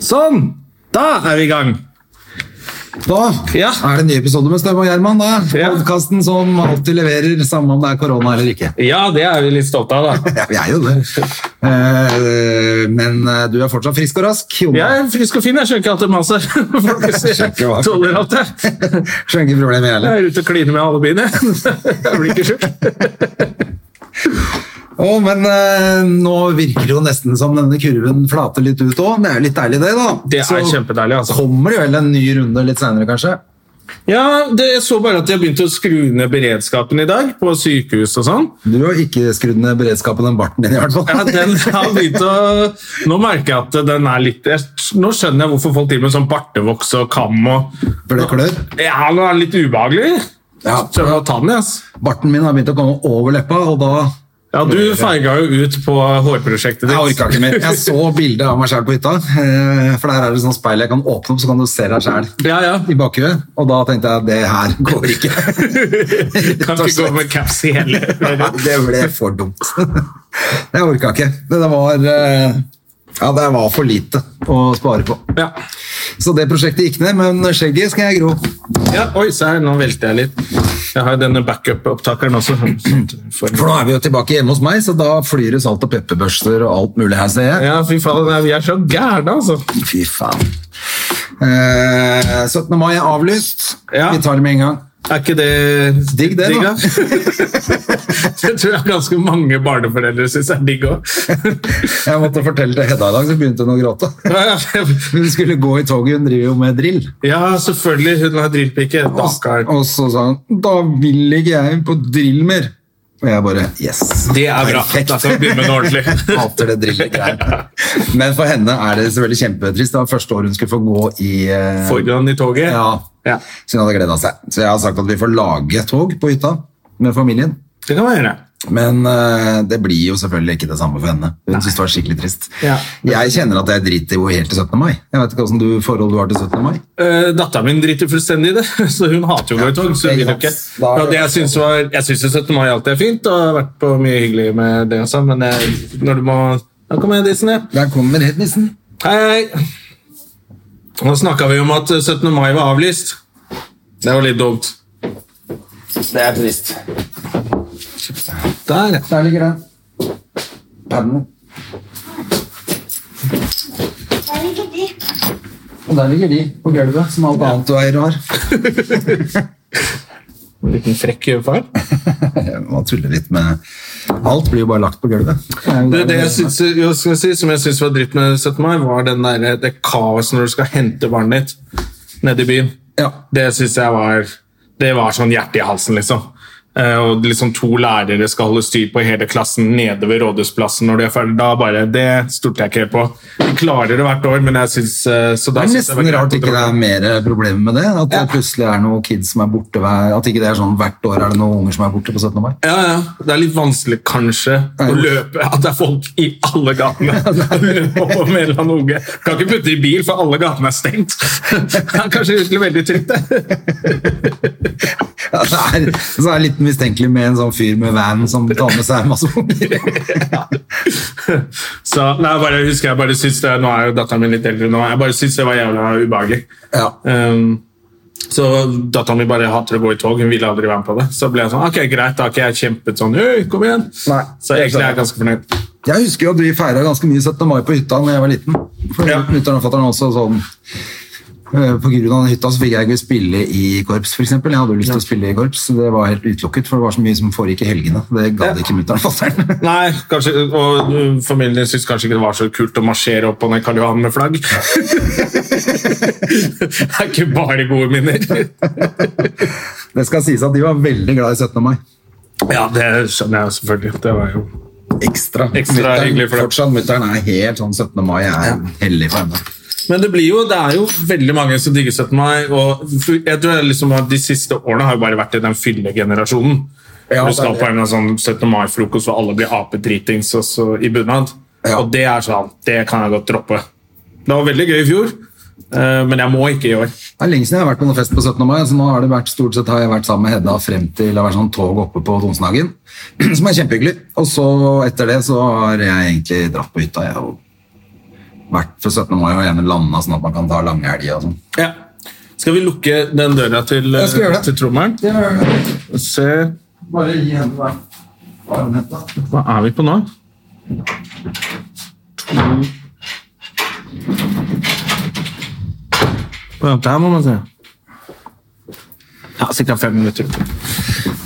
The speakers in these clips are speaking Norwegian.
Sånn! Da er vi i gang. Da Ja. er det en ny episode med Støm og Gjerman. da. Ja. Podkasten som alltid leverer, samme om det er korona eller ikke. Ja, det er vi litt stolte av, da. Ja, vi er jo det. Eh, Men eh, du er fortsatt frisk og rask. Jon. Jeg er frisk og fin, jeg skjønner ikke alt det maset. Folk Skjønner ikke hva. sier- tåler alt det. Skjønner ikke problemet, jeg Jeg heller. er ute og kliner med alle biene. Jeg blir ikke sjuk. Å, men eh, nå virker det jo nesten som denne kurven flater litt ut òg. Det er jo litt deilig, det, da. Det er kjempedeilig, altså. kommer det vel en ny runde litt seinere, kanskje. Ja, det, jeg så bare at de har begynt å skru ned beredskapen i dag, på sykehus og sånn. Du har ikke skrudd ned beredskapen om barten din, i hvert fall. Ja, den har begynt å... Nå merker jeg at den er litt... jeg- Nå skjønner jeg hvorfor folk driver med sånn bartevoks og kam og... For det klør. Ja, nå er den litt ubehagelig. Ja. Skjønner jeg å ta den, yes. Barten min har begynt å komme over leppa, og da Ja, du feiga jo ut på hårprosjektet ditt. Jeg orka ikke mer. Jeg så bildet av meg sjæl på hytta. eh, For der er det sånn speil jeg kan åpne opp, så kan du se deg sjæl Ja, ja. i bakhuet. Og da tenkte jeg det her går ikke. Kan Rett og ikke gå slett. med caps i hele Nei, Det ble for dumt. Jeg orka ikke. Det der var eh, Ja, det var for lite å spare på. Ja. Så det prosjektet gikk ned, men skjegget skal jeg gro. ja. Oi, se her, nå velter jeg litt. Jeg har jo denne backup-opptakeren også. For nå er vi jo tilbake hjemme hos meg, så da flyr det salt og pepperbørster og alt mulig her, ser jeg. Ja, fy faen, nei, vi er så gærne, altså. Fy faen. Eh, 17. mai er avlyst. Ja. Vi tar det med en gang. Er ikke det Digg det, da. da? Det tror jeg ganske mange barneforeldre syns er digg òg. Jeg måtte fortelle til Hedda i dag, så begynte hun å gråte. Hun skulle gå i toget, hun driver jo med drill. Ja, selvfølgelig. Hun har drillpike. Dakkar. Og så sa hun 'da vil ikke jeg på drill mer'. Og jeg bare 'yes'. Det er bra. Perfekt. Da skal vi begynne med noe ordentlig. Hater det drillegreiene. Men for henne er det selvfølgelig kjempetrist. Det var første år hun skulle få gå i eh, Foran i toget. ja. Ja. Så hun hadde gleda seg. Så jeg har sagt at vi får lage tog på hytta med familien. Det kan man gjøre. Men eh, det blir jo selvfølgelig ikke det samme for henne. Hun synes det var skikkelig trist. Ja. Jeg kjenner at jeg driter jo helt til 17. mai. Jeg vet ikke hvordan du forhold du har til 17. mai. Uh, Datteren min driter fullstendig i det, så hun hater jo å gå i tog. så hun vil jo ikke. Da er Ja, det- det Jeg syns var- jeg syns jo 17. mai alltid er fint, og jeg har vært på mye hyggelig med det også, men jeg, når du må Da kommer jeg dissen, ja. Der kommer helt nissen. Hei, hei! Nå snakka vi om at 17. mai var avlyst. Det var litt dumt. Det er trist. Der, ja. Der ligger den. Paden. Og der ligger de på gulvet, som alt annet du eier og har. En liten frekk eh, far. Jeg må tulle litt med Alt blir jo bare lagt på gulvet. Det, det jeg synes, eh, jo, skal jeg si, som jeg syns var dritt med 17. mai, var den der, eh, det kaoset når du skal hente barnet ditt nede i byen. Ja. Det syns jeg var Det var sånn hjerte i halsen, liksom. Eh, og liksom to lærere skal holde styr på hele klassen nede ved Rådhusplassen når de er ferdig. Da bare Det stolte jeg ikke helt på. De klarer det hvert år, men jeg syns eh, Så Det da er synes jeg nesten var greit rart at ikke det var- er mer problemer med det. At det plutselig er noen kids som er borte hver At ikke det er sånn hvert år er det noen unger som er borte på 17. mai. ja, ja. Det er litt vanskelig kanskje å løpe At det er folk i alle gatene og løpe over med en eller annen unge. Kan ikke putte i bil, for alle gatene er stengt. Det er kanskje egentlig veldig trygt, det. Ja, det er, så er det litt mistenkelig med en sånn fyr med van som tar med seg masse unger. Så nei, bare, jeg husker jeg bare synes det, Nå er jo datteren min litt eldre nå. Jeg bare synes det var jævla ubehagelig. Ja. Um, så datteren min bare hater å gå i tog. Hun ville aldri være med på det. Så ble jeg sånn Ok, greit, da har ikke jeg kjempet sånn Øy, kom igjen. Nei. så egentlig er jeg ganske fornøyd. Jeg husker jo at vi feira ganske mye 17. mai på hytta da jeg var liten. For Ja. Mutter'n og fatter'n også sånn eh, På grunn av den hytta så fikk jeg ikke spille i korps, f.eks. Jeg hadde jo lyst til å spille i korps, så det var helt utelukket, for det var så mye som foregikk i helgene. Det gadd ikke mutter'n og fatter'n. Nei, kanskje, og uh, familien din synes kanskje ikke det var så kult å marsjere opp på den Karl Johan med flagg. det er ikke bare gode minner. Det skal sies at de var veldig glad i 17. mai. ja, det skjønner jeg jo selvfølgelig. Det var jo Ekstra. Ekstra Mutteren- hyggelig for dem. Fortsatt mutter'n er helt sånn 17. mai er hellig for henne. Men det, blir jo, det er jo veldig mange som digger 17. mai. Og for- jeg tror jeg liksom at De siste årene har jo bare vært i den fyllegenerasjonen. Ja, det du er skal det. på en sånn 17. mai-frokost hvor alle blir apedritings og så i bunad. Ja. Og det er sånn, det kan jeg godt droppe. Det var veldig gøy i fjor, eh, men jeg må ikke i år. Det er lenge siden jeg har vært på noen fest på 17. mai. Så nå har det vært, stort sett har jeg vært sammen med Hedda frem til det har vært sånn tog oppe på Tonsenhagen, som er kjempehyggelig. Og så etter det så har jeg egentlig dratt på hytta. Jeg har vært for 17. mai og gjerne landa sånn at man kan ta lange helger og sånn. Ja. Skal vi lukke den døra til, eh, Jeg skal gjøre det. til trommelen? Se, Bare gi henne hver armhette. hva er vi på nå? To Ja, Der må man se. Ja, ca. fem minutter.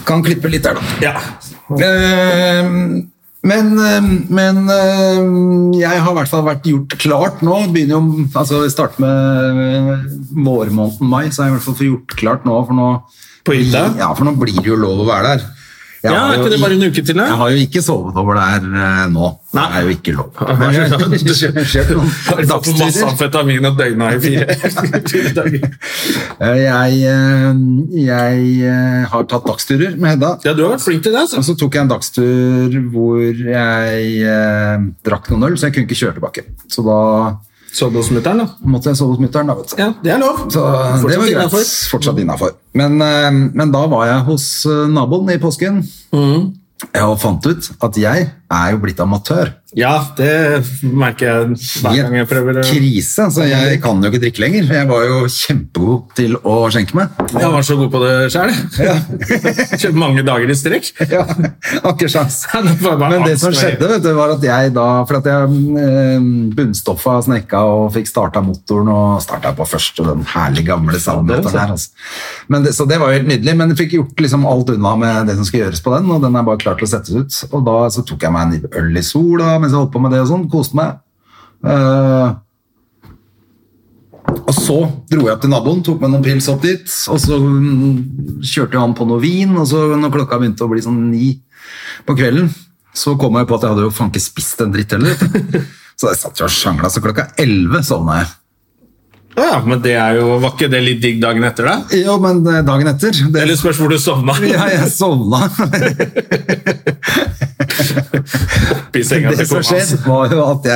Kan klippe litt der, da. Ja. Ehm, Men, ehm, men ehm, jeg har i hvert fall vært gjort klart nå. Begynner jo, altså Vi starter med eh, vårmåneden mai, så har jeg i hvert fall fått gjort klart nå. For nå På hytta? Ja, for nå blir det jo lov å være der. Jeg Ja, har er jo ikke det i- bare en uke til? da? Jeg har jo ikke sovet over der eh, nå. Nei. Det er jo ikke lov. Det skjer. skjer Har noen du fått masse dagsturer. amfetamin og døgna i fire fire dager? Eh, Jeg, eh, jeg eh, har tatt dagsturer med Hedda. Ja, du har vært flink til det. altså. Og så tok jeg en dagstur hvor jeg eh, drakk noen øl, så jeg kunne ikke kjøre tilbake. Så da Så du hos mutter'n, da? måtte jeg sove hos mutter'n, da, vet du. Ja, det er lov. Så eh, det var greit. Fortsatt innafor. Men, eh, men da var jeg hos eh, naboen i påsken Mhm. og fant ut at jeg er jo blitt amatør. Ja, det merker jeg hver gang jeg prøver. å- Krise, så jeg kan jo ikke drikke lenger. Jeg var jo kjempegod til å skjenke meg. Jeg var så god på det sjøl. Kjøpt mange dager i strekk. Ja, Akker sjans. Ja, det var bare Men det angst som for skjedde, vet du, var at jeg da For at jeg eh, bunnstoffa snekka og fikk starta motoren, og starta på første den herlig gamle soundmeteren her. Altså. Men det, så det var jo helt nydelig. Men jeg fikk gjort liksom alt unna med det som skal gjøres på den, og den er bare klar til å settes ut. Og da så tok jeg meg en øl i sola mens jeg holdt på med det og sånn. Koste meg. Eh, og så dro jeg opp til naboen, tok med noen pils opp dit, og så mm, kjørte han på noe vin, og så når klokka begynte å bli sånn ni på kvelden, så kom jeg på at jeg hadde jo faen ikke spist en dritt heller. Så jeg satt jo og sjangla, så klokka elleve sovna jeg. Ja, men det er jo, Var ikke det litt digg dagen etter, da? Jo, men eh, dagen etter det, Eller spørs hvor du sovna. Ja, jeg sovna. I senga Det til som kona skjer, hans. var jo at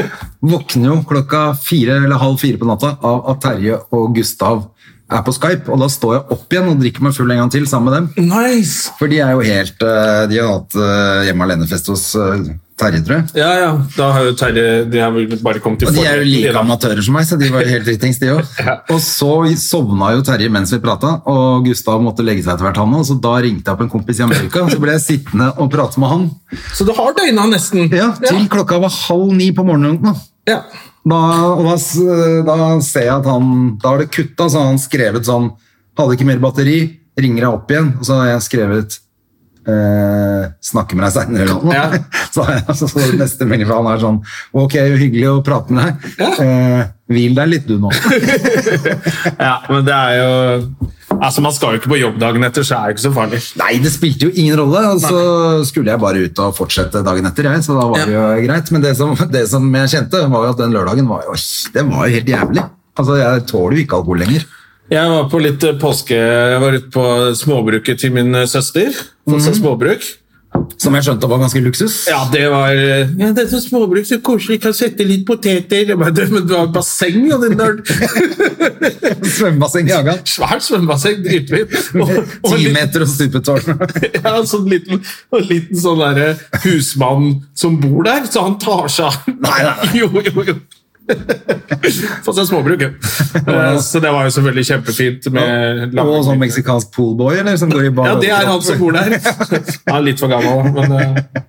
jeg våkner jo klokka fire eller halv fire på natta av at Terje og Gustav er på Skype, og da står jeg opp igjen og drikker meg full en gang til sammen med dem. Nice! For de er jo helt eh, De har hatt eh, hjemme alene-fest hos eh, Terje, tror jeg. Ja, ja. Da har jo Terje De har vel bare kommet til Og de er jo forrige- like amatører som meg, så de var jo helt dritings, de òg. Og så sovna jo Terje mens vi prata, og Gustav måtte legge seg etter hvert, han òg, så da ringte jeg opp en kompis i Amerika, og så ble jeg sittende og prate med han. Så du har døgna nesten. Ja, Til klokka var halv ni på morgenen. eller noe. Ja. Da, og da, s- da ser jeg at han Da har det kutta, så har han skrevet sånn Hadde ikke mer batteri, ringer jeg opp igjen, og så har jeg skrevet eh, snakke med deg seinere, eller noe. Ja. Så, har jeg- så, så neste melding fra han er sånn Ok, hyggelig å prate med deg. Eh, hvil deg litt, du, nå. ja, men det er jo Altså, Man skal jo ikke på jobb dagen etter, så er det ikke så farlig. Nei, det spilte jo ingen rolle. og Så skulle jeg bare ut og fortsette dagen etter, jeg, så da var det jo greit. Men det som, det som jeg kjente, var jo at den lørdagen var jo, den var jo helt jævlig. Altså, Jeg tåler jo ikke alkohol lenger. Jeg var på litt eh, påske... Jeg var ute på småbruket til min eh, søster. Fått seg småbruk. Som jeg skjønte var ganske luksus. Ja, det var eh, Ja, det er så småbruk, så koselig. Kan sette litt poteter. Jeg bare, Men du har basseng, og din nerd. Svømmebasseng i hagen. Svært svømmebasseng, dritfint. Og, og Ti en liten- meter og stupetårn. ja, sånn liten, og en liten sånn derre husmann som bor der, så han tar seg av Nei, nei, nei. Jo, jo, jo. Få seg småbruk, ja. Eh, Så det var jo selvfølgelig kjempefint med Og sånn meksikansk poolboy, eller? Som går i bar. Ja, det er han som bor der. Han er litt for gammel, men eh,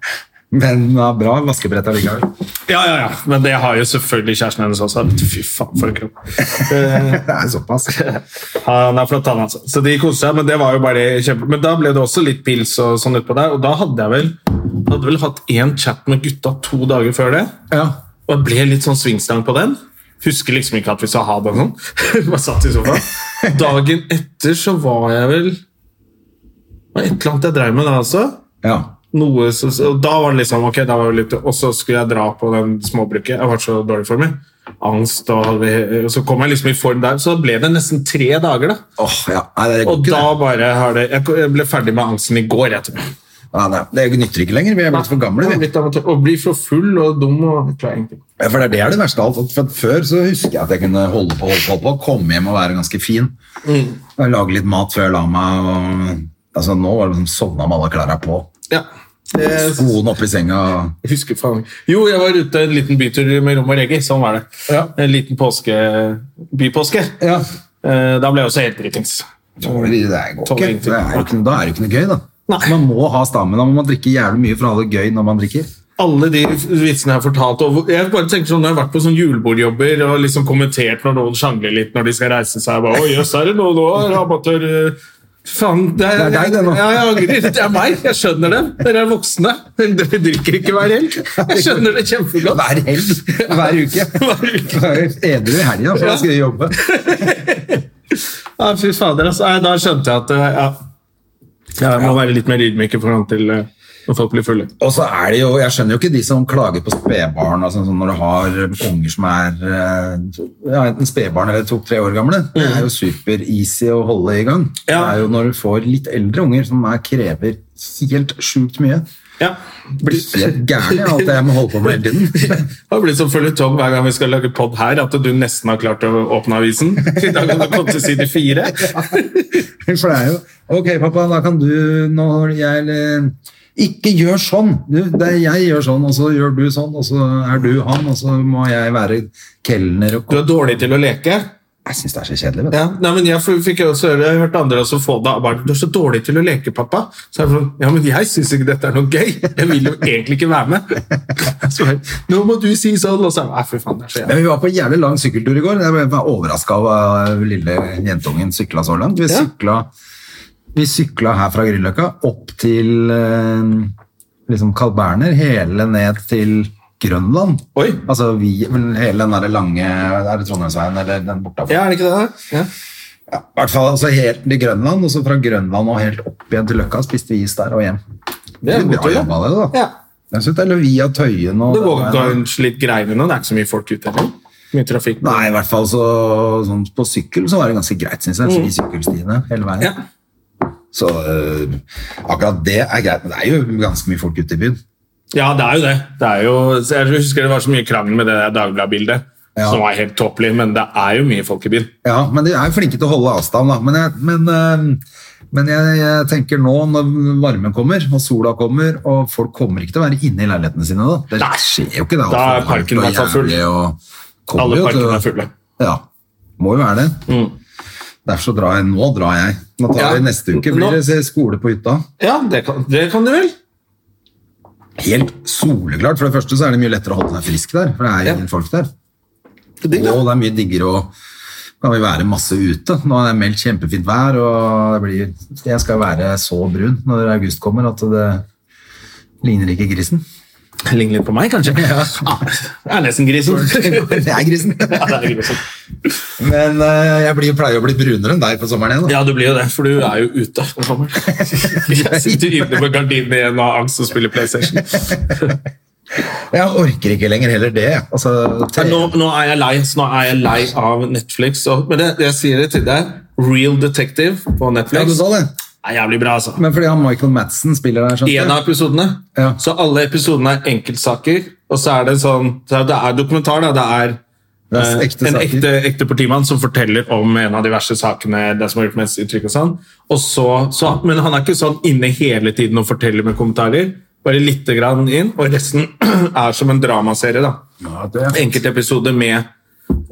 Men ja, bra vaskebrett allikevel. Ja, ja, ja. Men det har jo selvfølgelig kjæresten hennes også. Fy faen, for en kropp. Eh, Det er såpass. Han er flott, han altså. Så de koste seg, men det var jo bare kjempe... Men da ble det også litt pils og sånn utpå der, og da hadde jeg vel hadde vel hatt én chat med gutta to dager før det, Ja. og jeg ble litt sånn svingstang på den. Husker liksom ikke at vi sa ha det og sånn. Bare satt i sofaen. Dagen etter så var jeg vel Det var et eller annet jeg drev med da også. ja. Noe, så, så- og da var det liksom, ok, da var det litt, og så skulle jeg dra på den småbruket. Jeg var så dårlig for meg. Angst, og, hadde- og så kom jeg liksom i form der. Så da ble det nesten tre dager, da. Åh, ja. Nei, det, går Og ikke, da bare har det Jeg jeg ble ferdig med angsten i går, jeg tror. det. Nei, nei, det nytter ikke lenger. Vi er blitt for gamle. Vi. Å bli for full og dum og jeg klarer ingenting. Ja, For det er det er det verste av alt. at For før så husker jeg at jeg kunne holde på, holde på, holde på komme hjem og være ganske fin. Mm. Og Lage litt mat før jeg la meg. Og, altså, nå var det liksom sovna med alle klærne på. Ja. Jeg Skoene oppi senga. og- Eh, husker faen ikke. Jo, jeg var ute en liten bytur med Rom og Reggae. Sånn var det. Ja. En liten påske, bypåske. Ja. Eh, Da ble jeg også helt dritings. Det går ikke. Det er jo ikke, da er det jo ikke noe gøy, da. Nei. Man må ha stamina. Man må drikke jævlig mye for å ha det gøy når man drikker. Alle de vitsene jeg har fortalt og hvor- Jeg bare tenker sånn, når jeg har vært på sånn julebordjobber og liksom kommentert når noen sjangler litt når de skal reise seg jeg bare, Oi, jøss, er det noe nå? Rabattør eh, Faen, det er, Det er deg, det nå. Ja, jeg angrer. Det er meg. Jeg skjønner det. Dere er voksne. Dere drikker ikke hver helg. Jeg skjønner det kjempegodt. Hver helg. Hver uke. Hver uke. Edru i helga, for da skal jeg jobbe. Ja, fy fader, altså. Nei, Da skjønte jeg at eh, ja. Ja, Jeg må være litt mer ydmyk i forhold til eh, når folk blir fulle. Og så er det jo, Jeg skjønner jo ikke de som klager på spedbarn altså, sånn når du har unger som er eh, ja, enten spedbarn eller to-tre år gamle. Det er jo super-easy å holde i gang. Mm. Ja. Det er jo når du får litt eldre unger som er, krever helt sjukt mye. Ja. Blir helt gæren i alt det jeg må holde på med hele tiden. Det har blitt som føljetong hver gang vi skal lage pod her, at du nesten har klart å åpne avisen. I dag har du kommet til side fire. For det er jo Ok, pappa, da kan du når jeg eller, Ikke gjør sånn! Du, det er jeg gjør sånn, og så gjør du sånn, og så er du han, og så må jeg være kelner og Du er dårlig til å leke. Jeg syns det er så kjedelig. vet du. Ja. Nei, men jeg f- fikk jo også høre, jeg har hørt andre også få det bare, Du er så dårlig til å leke, pappa. Så er det sånn, ja, men jeg syns ikke dette er noe gøy. Jeg vil jo egentlig ikke være med. Så bare, Nå må du si sånn, og så Nei, fy faen, det er så jævlig. Men vi var på en jævlig lang sykkeltur i går. Jeg var overraska over at lille jentungen sykla så langt. Vi Ja. sykla, vi sykla her fra Grünerløkka opp til eh, liksom Carl Berner, hele ned til Grønland. Oi. Altså vi, vel, hele den der lange Er det Trondheimsveien eller den bortafor? Ja, er det ikke det? da? Ja. Ja, I hvert fall altså helt til Grønland, og så fra Grønland og helt opp igjen til Løkka. Spiste vi is der og hjem. Det er en god bra tur, da. jobba, det, da. Ja. Jeg synes det er via Tøyen og Det går kanskje litt greiere nå. Det er ikke så mye folk ute heller. Mye trafikk. Nei, i hvert fall så, sånn, på sykkel så var det ganske greit, synes jeg. I sykkelstiene hele veien. Mm. Ja. Så øh, akkurat det er greit, men det er jo ganske mye folk ute i byen. Ja, det er jo det. det er jo, så jeg husker det var så mye krangel med det der Dagbladet-bildet, Ja. som var helt tåpelig, men det er jo mye folk i byen. Ja, men de er jo flinke til å holde avstand, da. Men jeg, men, øh, men jeg, jeg tenker nå når varmen kommer, og sola kommer, og folk kommer ikke til å være inne i leilighetene sine da. Det Nei. skjer jo ikke det. Da er Folk og parken i hvert fall full. jævlig, og kommer Alle jo til å- parkene er fulle. Mm. Ja, må jo være det. Derfor så drar jeg, nå drar jeg. Nå tar Ja. jeg neste uke, Nå- blir det skole på hytta. Ja, det kan, det kan du vel? Helt soleklart. For det første så er det mye lettere å holde seg frisk der, for det er Ja. ingen folk der. Digg, da. Og det er mye diggere å kan vi være masse ute. Nå er det meldt kjempefint vær, og det blir, jeg skal være så brun når august kommer at det ligner ikke grisen. Ligner litt på meg, kanskje. Ja. Jeg er nesten grisen. Det er grisen. Ja, det er grisen. Men eh, jeg blir, pleier å bli brunere enn deg på sommeren igjen. da. Ja, du blir jo det, for du er jo ute om sommeren. Jeg sitter inne med gardinene igjen og har angst og spiller PlayStation. Jeg orker ikke lenger heller det. Altså, Ja, tre- Nå, nå er jeg lei så nå er jeg lei av Netflix. Og, men det, jeg sier det til deg. Real Detective på ja, du Netflix sa det. er jævlig bra, altså. Men fordi han Michael Madsen spiller der, I en skjønte av jeg. episodene. Ja. Så alle episodene er enkeltsaker, og så er det sånn så Det er dokumentar, da. Det er, Det er eh, ekte en saker. ekte, ekte politimann som forteller om en av de verste sakene. det som har gjort mest uttrykk og sånn. Og så, så, Men han er ikke sånn inne hele tiden og forteller med kommentarer. Bare lite grann inn, og resten er som en dramaserie. da. Ja, det- Enkeltepisode med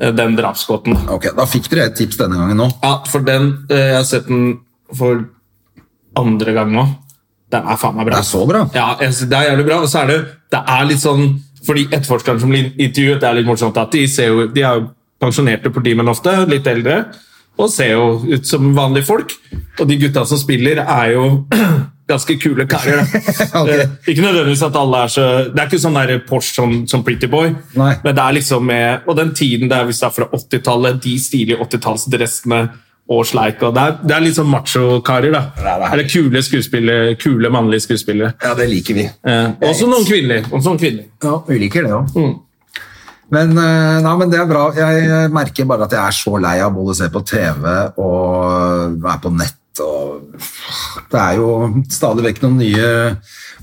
eh, den drapsgåten. da. Ok, Da fikk dere et tips denne gangen nå. Ja, for den eh, Jeg har sett den for andre gang nå. Den er faen meg bra. Det er så bra. Ja, jeg synes det er jævlig bra. Og så er det, det er litt sånn Fordi etterforskerne som blir intervjuet, det er litt morsomt at de ser jo De er jo pensjonerte politimenn ofte, litt eldre, og ser jo ut som vanlige folk. Og de gutta som spiller, er jo ganske kule karer. da. Ok. Eh, Ikke nødvendigvis at alle er så Det er ikke sånn der Porsche som, som Pretty Boy, Nei. men det er liksom med Og den tiden der, hvis det er fra 80-tallet, de stilige 80-tallsdressene og sleik. Og det, er, det er litt sånn macho-karer. da. Det er det. Eller kule skuespillere, kule mannlige skuespillere. Ja, det liker vi. Eh, også noen kvinnelige. Også noen kvinnelige. Ja, vi liker det òg. Mm. Men, eh, nei, men det er bra. Jeg merker bare at jeg er så lei av både å se på TV og være på nett. Og det er jo stadig vekk noen nye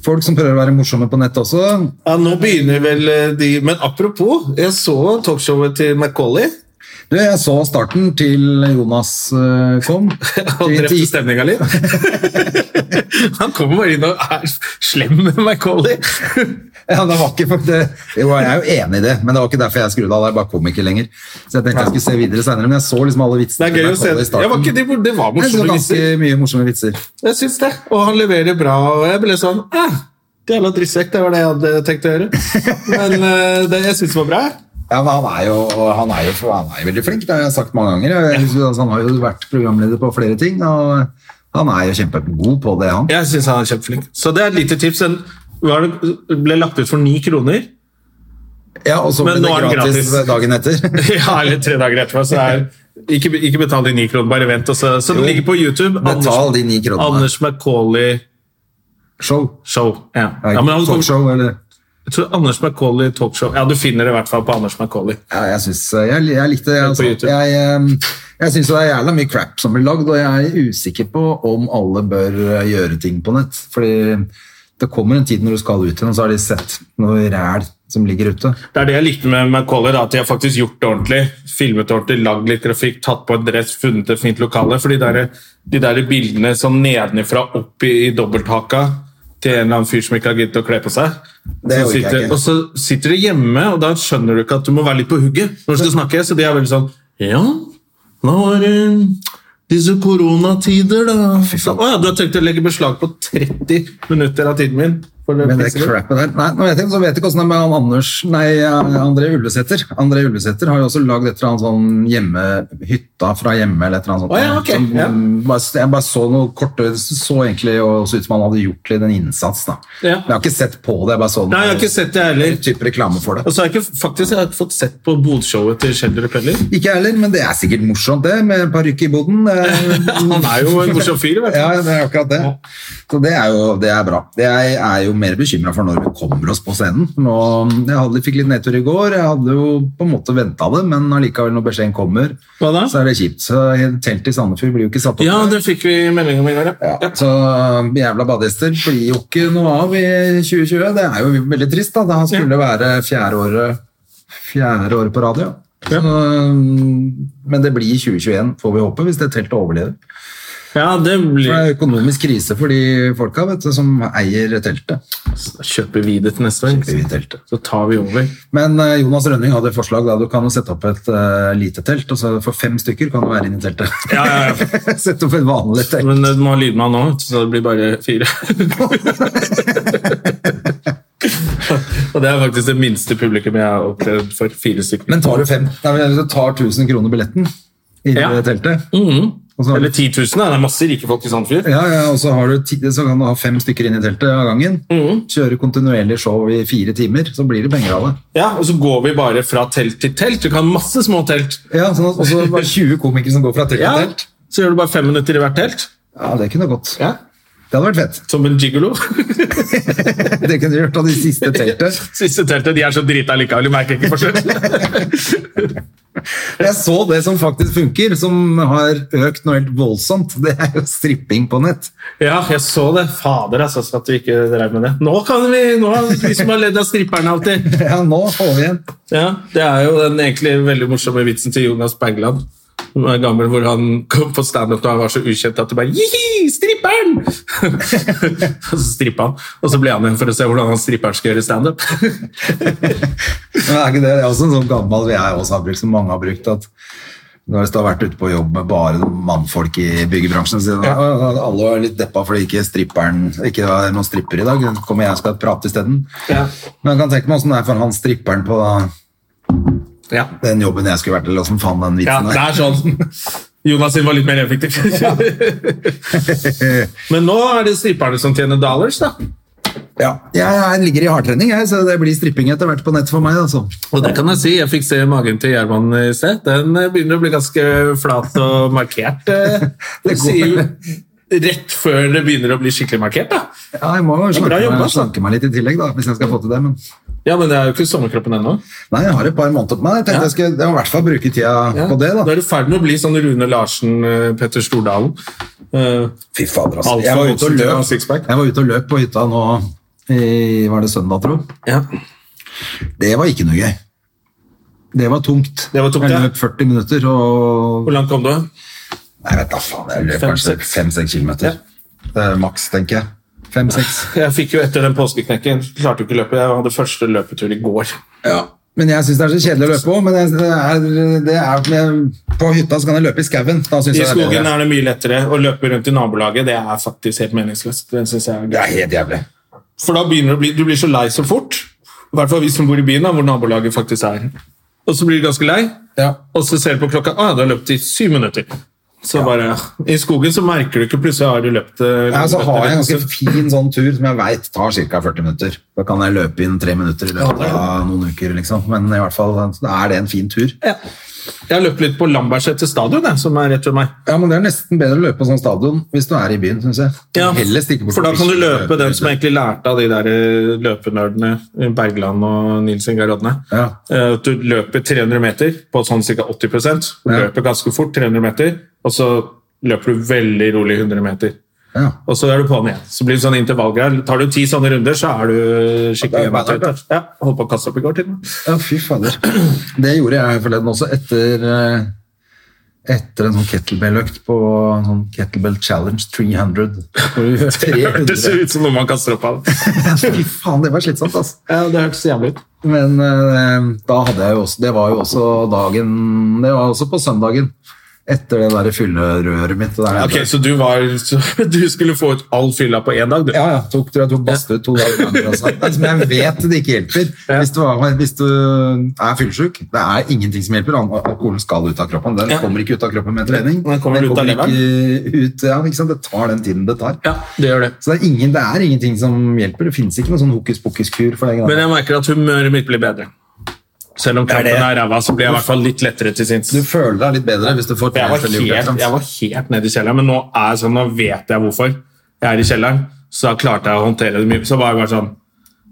folk som prøver å være morsomme på nett også. Ja, nå begynner vel eh, de Men apropos, jeg så talkshowet til Macauley. Du, jeg så starten til Jonas eh, kom. Han Til- drepte til- stemninga litt. Han kommer bare inn og er slem med Macauley. Ja, det var ikke for det, jo, jeg er jo enig i det, men det var ikke derfor jeg skrudde av. Jeg bare kom ikke lenger. Så jeg tenkte jeg skulle se videre senere, men jeg så liksom alle vitsene. Det er gøy som å se. kom i starten. Jeg var ikke, det, det var Jeg synes det morsomme var ganske vitser. mye morsomme vitser. Jeg syns det. Og han leverer bra. Og jeg ble sånn eh, Jævla drittsekk, det var det jeg hadde tenkt å gjøre. Men eh, det, jeg syns det var bra. Ja, men han er jo, og han er jo, han er jo veldig flink, det har jeg sagt mange ganger. Jeg, synes, altså, han har jo vært programleder på flere ting, og han er jo kjempegod på det, han. Jeg syns han er kjempeflink. Så det er et lite tips. Den var det ble lagt ut for ni kroner. Ja, og så ble Men det nå er han gratis, gratis. dagen etter. Ja, eller tre dager etterpå. Så er, ikke, ikke betal de ni kronene, bare vent. Og så, så Jo, det ligger på YouTube. Betal de ni kronene. Anders Macaulay Show. Show. Ja. Ja, Ja, men han, talkshow, eller... jeg tror Anders Macaulay Talkshow. Ja, du finner det i hvert fall på Anders Macaulay. Ja, jeg, synes, jeg, jeg likte det. Altså. YouTube. Jeg, ehm, jeg syns det er jævla mye crap som blir lagd, og jeg er usikker på om alle bør eh, gjøre ting på nett. Fordi det kommer en tid når du skal ut igjen, og så har de sett noe ræl som ligger ute. Det er det jeg likte med Macaulay, da, at de har faktisk gjort det ordentlig. Filmet det ordentlig, lagd litt grafikk, tatt på en dress, funnet et fint lokale. For de der, de der bildene sånn nedenifra opp i, i dobbelthaka til en eller annen fyr som ikke har giddet å kle på seg. Det Så orker jeg sitter, ikke. Og så sitter de hjemme, og da skjønner du ikke at du må være litt på hugget når du skal snakke. Så de er veldig sånn Ja, nå var det disse koronatider, da. Så, Å ja, du har tenkt å legge beslag på 30 minutter av tiden min? For å Men det fikse det?» crappet der Nei, nå vet jeg, så vet jeg ikke hvordan det er med han Anders Nei, eh, André Ulvesæter. André Ulvesæter har jo også lagd et eller annet sånn hjemme Hytta fra hjemme eller et eller annet sånt. Å ja, ok, Som- ja. bare, jeg bare så noe kort Det så egentlig også ut som han hadde gjort litt en innsats, da. Ja. Men jeg har ikke sett på det. Jeg bare så Nei, jeg har ikke sett Altså- det heller. noen type reklame for det. Og så har jeg ikke, faktisk jeg har ikke fått sett på bodshowet til Sheldrup heller. Ikke jeg heller, men det er sikkert morsomt, det, med parykk i boden. eh, Han er jo en morsom fyr. vet du. Ja, det er akkurat det. Så det er jo det er bra. Jeg er jo mer bekymra for når vi kommer oss på scenen. Nå, jeg hadde, fikk litt nedtur i går. Jeg hadde jo på en måte venta det, men allikevel, når beskjeden kommer, Hva da? så er det kjipt. Så Teltet i Sandefjord blir jo ikke satt opp. Ja, det fikk vi melding om i går. Ja. Ja, så um, jævla badegjester blir jo ikke noe av i 2020. Det er jo veldig trist, da. Det skulle være fjerde året, fjerde året på radio. Så, um, men det blir 2021, får vi håpe, hvis det teltet overlever. ja, det For blir det er økonomisk krise for de folka vet du, som eier teltet. Da Kjøper vi det til neste år, teltet. så tar vi over. Men eh, Jonas Rønning hadde et forslag. da Du kan jo sette opp et eh, lite telt, og så for fem stykker kan du være inne i teltet. Ja, ja, ja. Sette opp et vanlig telt. Men det må ha lydmann nå, så det blir bare fire. Og det er faktisk det minste publikum jeg har opplevd for fire stykker. Men tar du fem? Nei, men du tar 1000 kroner billetten inn i Ja. Mm-hmm. det teltet. Og så har Eller du, 10 000, da. det er masse rike folk i sånn Sandfjord. ja, ja, og så, har du ti, så kan du ha fem stykker inn i teltet av gangen. Mm-hmm. Kjøre kontinuerlig show i fire timer, så blir det penger av det. Ja, og så går vi bare fra telt til telt. Du kan ha masse små telt. Ja, sånn at, Og så bare 20 komikere som går fra telt til Ja, telt. så gjør du bare fem minutter i hvert telt. Ja, det kunne gått. Ja. Det hadde vært fett. Som en gigolo. Det kunne du gjort av de siste teltet. Siste teltet, de er så drita likevel, de merker ikke forskjell. Jeg så det som faktisk funker, som har økt noe helt voldsomt. Det er jo stripping på nett. ja, jeg så det. Fader, altså, så at vi ikke drev med det. Nå kan vi, nå er det vi som har ledd av stripperne alltid. Ja, nå får vi en. Ja, det er jo den egentlig veldig morsomme vitsen til Jonas Bergland. Som er gammel, hvor han kom på standup da han var så ukjent at det bare Jihi, stripperen! og så strippa han, og så ble han igjen for å se hvordan han stripperen skal gjøre standup. Men er ikke det, det er også en sånn gammel jeg også har brukt, som mange har brukt, at når du har vært ute på jobb med bare mannfolk i byggebransjen, så sier de, «Å, alle var litt deppa fordi ikke stripperen, ikke det var noen stripper i dag, kommer jeg og skal prate isteden. Ja. Men jeg kan tenke meg åssen det er for han stripperen på ja. den jobben jeg skulle vært til, åssen faen den Ja, vitsen det er sånn. Jonas sin var litt mer effektiv. Men nå er det stripperne som tjener dollars, da. Ja, jeg, jeg ligger i hardtrening, jeg, så det blir stripping etter hvert på nett for meg. Altså. Og det kan jeg si, jeg fikk se magen til Gjerman i sted. Den eh, begynner å bli ganske flat og markert. eh. Det Det går. sier jo rett før det begynner å bli skikkelig markert, da. Ja, jeg må jo Det er bra slanke, jobba, meg, altså. slanke meg litt i tillegg, da, hvis jeg skal få til det. Men Ja, men det er jo ikke sommerkroppen ennå. nei, jeg har et par måneder på meg. Jeg tenkte jeg skulle jeg må i hvert fall bruke tida på det. Da da. er du i ferd med å bli sånn Rune Larsen, eh, Petter Stordalen. Eh, Fy fader, altså. Alfa Jeg var ute og Olsen, du har løp, sixpack. jeg var ute og løp på hytta nå i Var det søndag, tro? ja. Det var ikke noe gøy. Det var tungt. Det var tungt, ja. jeg løp 40 minutter og Hvor langt kom du? Jeg vet da faen, jeg løp Fem, kanskje seks. 5-6 kilometer. Det er maks, tenker jeg. 5-6. Jeg fikk jo etter den påskeknekken Klarte jo ikke løpet. Jeg hadde første løpetur i går. Ja. Men jeg syns det er så kjedelig å løpe på. Men jeg, det er, det er, jeg, på hytta så kan jeg løpe i skauen. Da synes jeg I det er skogen bedre. er det mye lettere. Å løpe rundt i nabolaget det er faktisk helt meningsløst. Det synes jeg er Det gøy. er helt jævlig. For da begynner du å bli Du blir så lei så fort. I hvert fall vi som bor i byen, da, hvor nabolaget faktisk er. Og så blir du ganske lei, Ja. og så ser du på klokka ah, du har løpt i syv minutter. Så bare, I skogen så merker du ikke plutselig har du løpt eh, Ja, så altså, har jeg en så- ganske fin sånn tur som jeg veit tar ca. 40 minutter. Da kan jeg løpe inn tre minutter i løpet av noen uker, liksom. Men i hvert fall så er det en fin tur. Jeg har løpt litt på Lambertseter stadion, jeg, som er rett ved meg. Ja, men det er nesten bedre å løpe på sånn stadion hvis du er i byen, syns jeg. Heller stikke bort for da på kan du byen, løpe den som jeg egentlig lærte av de der eh, løpenerdene Bergland og Nils Ingar Rodne. Ja. Eh, At du løper 300 meter på sånn ca. 80 Ja. Løper ganske fort, 300 meter, og så løper du veldig rolig 100 meter. Ja. Og så er du på'n igjen. Så blir det sånn intervallgreier. Tar du ti sånne runder, så er du Ja, det skikkelig er jo ja, ja, Holdt på å kaste opp i går, til og med. Ja, fy fader. Det gjorde jeg forleden også, etter, eh, etter en sånn kettlebell-økt på sånn kettlebell challenge 300. Hvor du gjør Det hørtes 300. ut som noe man kaster opp av. Fy faen, det var slitsomt, altså. Ja, det hørtes jævlig ut. Men eh, da hadde jeg jo også Det var jo også dagen Det var også på søndagen. Etter det der fyllerøret mitt. Der Ok, Så du var så, Du skulle få ut all fylla på én dag, du? Ja, ja. Tok, tror jeg tok badstue to dager ganger. Altså. Det er Som jeg vet det ikke hjelper. Ja. Hvis du, har- hvis du er fyllesyk, det er ingenting som hjelper. Al- Alkoholen skal ut av kroppen. Den Ja. kommer ikke ut av kroppen med trening. Den kommer ut av ikke ut, ja, ikke sant? Det tar den tiden det tar. Ja, det gjør det. Så det er, ingen, det er ingenting som hjelper. Det finnes ikke noen sånn hokus pokus-kur for det. Men greiene. jeg merker at humøret mitt blir bedre. Selv om kroppen det. er ræva, så blir jeg i hvert fall litt lettere til sinns. Du føler deg litt bedre hvis du får For Jeg var, trent veldig godt, ikke helt, sant? jeg var helt nede i kjelleren, men nå er jeg sånn, nå vet jeg hvorfor jeg er i kjelleren. Så da klarte jeg å håndtere det mye. Så var jeg bare sånn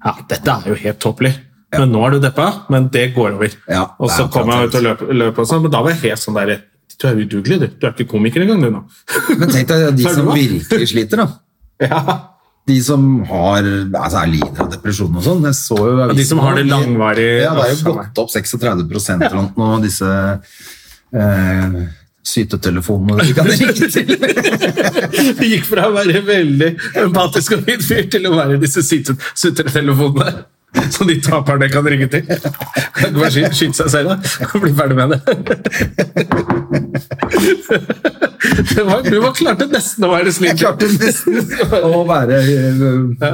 Ja, dette er jo helt toppelig. Men nå er du deppa, men det går over. Ja, og det så er kom jeg ut og akkurat løp, løp og sånn, men da var jeg helt sånn der Du er udugelig, du. Du er ikke komiker engang, du nå. Men tenk deg de Så er det som bra. virkelig sliter, da. De som har, altså er lider av depresjon og sånn. Jeg så jo avisen de som har det nå, de- langvarig- Ja, det er Uff, jo faen meg. gått opp 36 eller noe, nå, disse eh, sytetelefonene de kan ringe til. Det gikk fra å være veldig empatisk og fin fyr til å være disse sitte- sutretelefonene. Som de taperne kan ringe til. Kan ikke bare sky- skyte seg selv, da. Og bli ferdig med det. det var, du var klarte nesten å være snill. Jeg klarte nesten å være eh,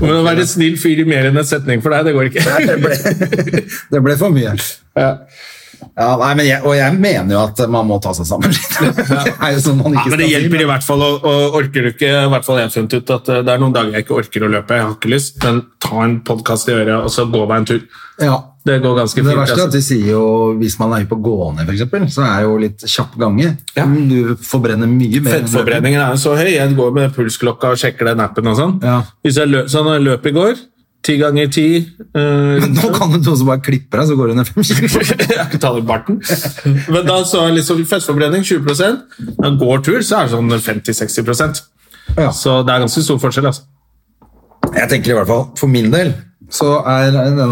Men å være snill fyr i mer enn en setning for deg, det går ikke. det, ble, det ble for mye. Ja, nei, men jeg, og jeg mener jo at man må ta seg sammen litt. Det er jo sånn man Ja, ikke skal men Det si, hjelper i hvert fall, og, og orker du ikke i hvert fall jeg har funnet ut at eh, det er noen dager jeg ikke orker å løpe, jeg har ikke lyst, men ta en podkast i øret og så gå meg en tur. Ja, Det går ganske fint. Det verste er altså. at de sier jo, hvis man er hypp på å gå ned, for eksempel, så er jo litt kjapp gange. Ja. Du forbrenner mye mer. enn løping. Fettforbrenningen er jo så høy. Jeg går med pulsklokka og sjekker den appen og sånn. Ja. Hvis jeg løp, sånn jeg løp i går, ti ganger ti eh, Nå kan du noen som bare klipper deg, så går du ned fem kilo. Jeg har ikke tatt ut barten. Men da så er liksom fettforbrenning 20 Når jeg går tur, så er det sånn 50-60 Ja. Så det er ganske stor forskjell, altså. Jeg tenker i hvert fall, for min del, så er den der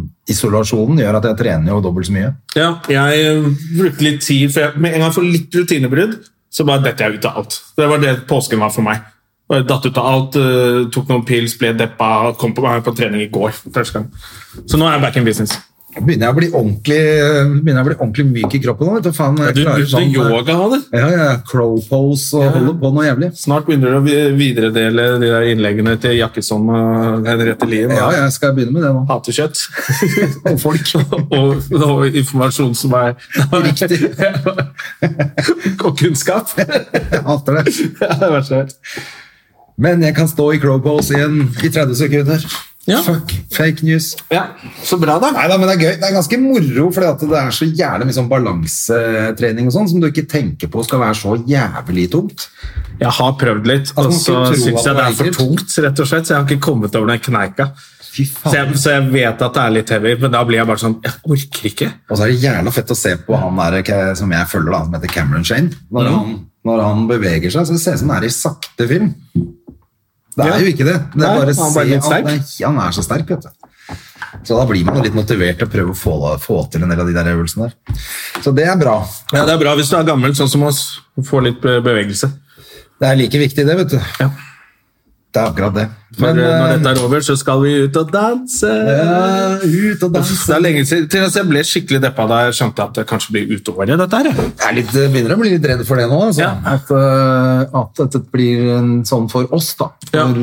koronaisolasjonen gjør at jeg trener jo dobbelt så mye. Ja, jeg eh, brukte litt tid, for jeg, med en gang jeg får litt rutinebrudd, så bare detter jeg ut av alt. Det var det påsken var for meg. Bare datt ut av alt, eh, tok noen pils, ble deppa, kom på, var på trening i går første gang. Så nå er jeg back in business. Begynner jeg å bli ordentlig, begynner jeg å bli ordentlig myk i kroppen nå, vet du faen. Jeg Du klarer brukte sånn- yoga av det. Ja, ja, crow pose og holder på noe jævlig. Snart begynner du å vi- videredele de der innleggene til Jakkesson og Henriette Lien. Ja, jeg skal begynne med det nå. Hater kjøtt. Og folk. og, og informasjon som er Riktig. og kunnskap. Jeg hater det. Ja, det er verste jeg vet. Men jeg kan stå i crow pose i, en, i 30 sekunder. Ja. Fuck. Fake news. Ja, Så bra, da. Nei da, men det er gøy. Det er ganske moro, fordi at det er så jævlig mye sånn balansetrening og sånn som du ikke tenker på skal være så jævlig tungt. Jeg har prøvd litt, man og kunne så tro syns at jeg det det er var for ekkelt. tungt, rett og slett. Så jeg har ikke kommet over den kneika. Fy Så jeg, så jeg vet at det er litt heavy, men da blir jeg bare sånn Jeg orker ikke. Og så er det jævla fett å se på han der eh, ke- som jeg følger, da, som heter Cameron Shane. Når, han, når han beveger seg, så ser det ut som han er i sakte film. Det Ja. er jo ikke det. det Nei, er bare han er bare litt se, han, er- han er så sterk, vet du. Så da blir man jo litt motivert til å prøve å få, få til en del av de der øvelsene der. Så det er bra. Ja, Det er bra hvis du er gammel, sånn som oss. Får litt be- bevegelse. Det er like viktig, det, vet du. Ja. Det er akkurat det. Men, Men, når eh, dette er over, så skal vi ut og danse. ja, ut og Uff, Det danse. er lenge siden. Til altså, jeg ble skikkelig deppa da jeg skjønte at det kanskje blir utover i dette her. Jeg er litt, eh, begynner å bli litt redd for det nå. Altså. Ja. At, eh, at dette blir en sånn for oss, da. Ja. For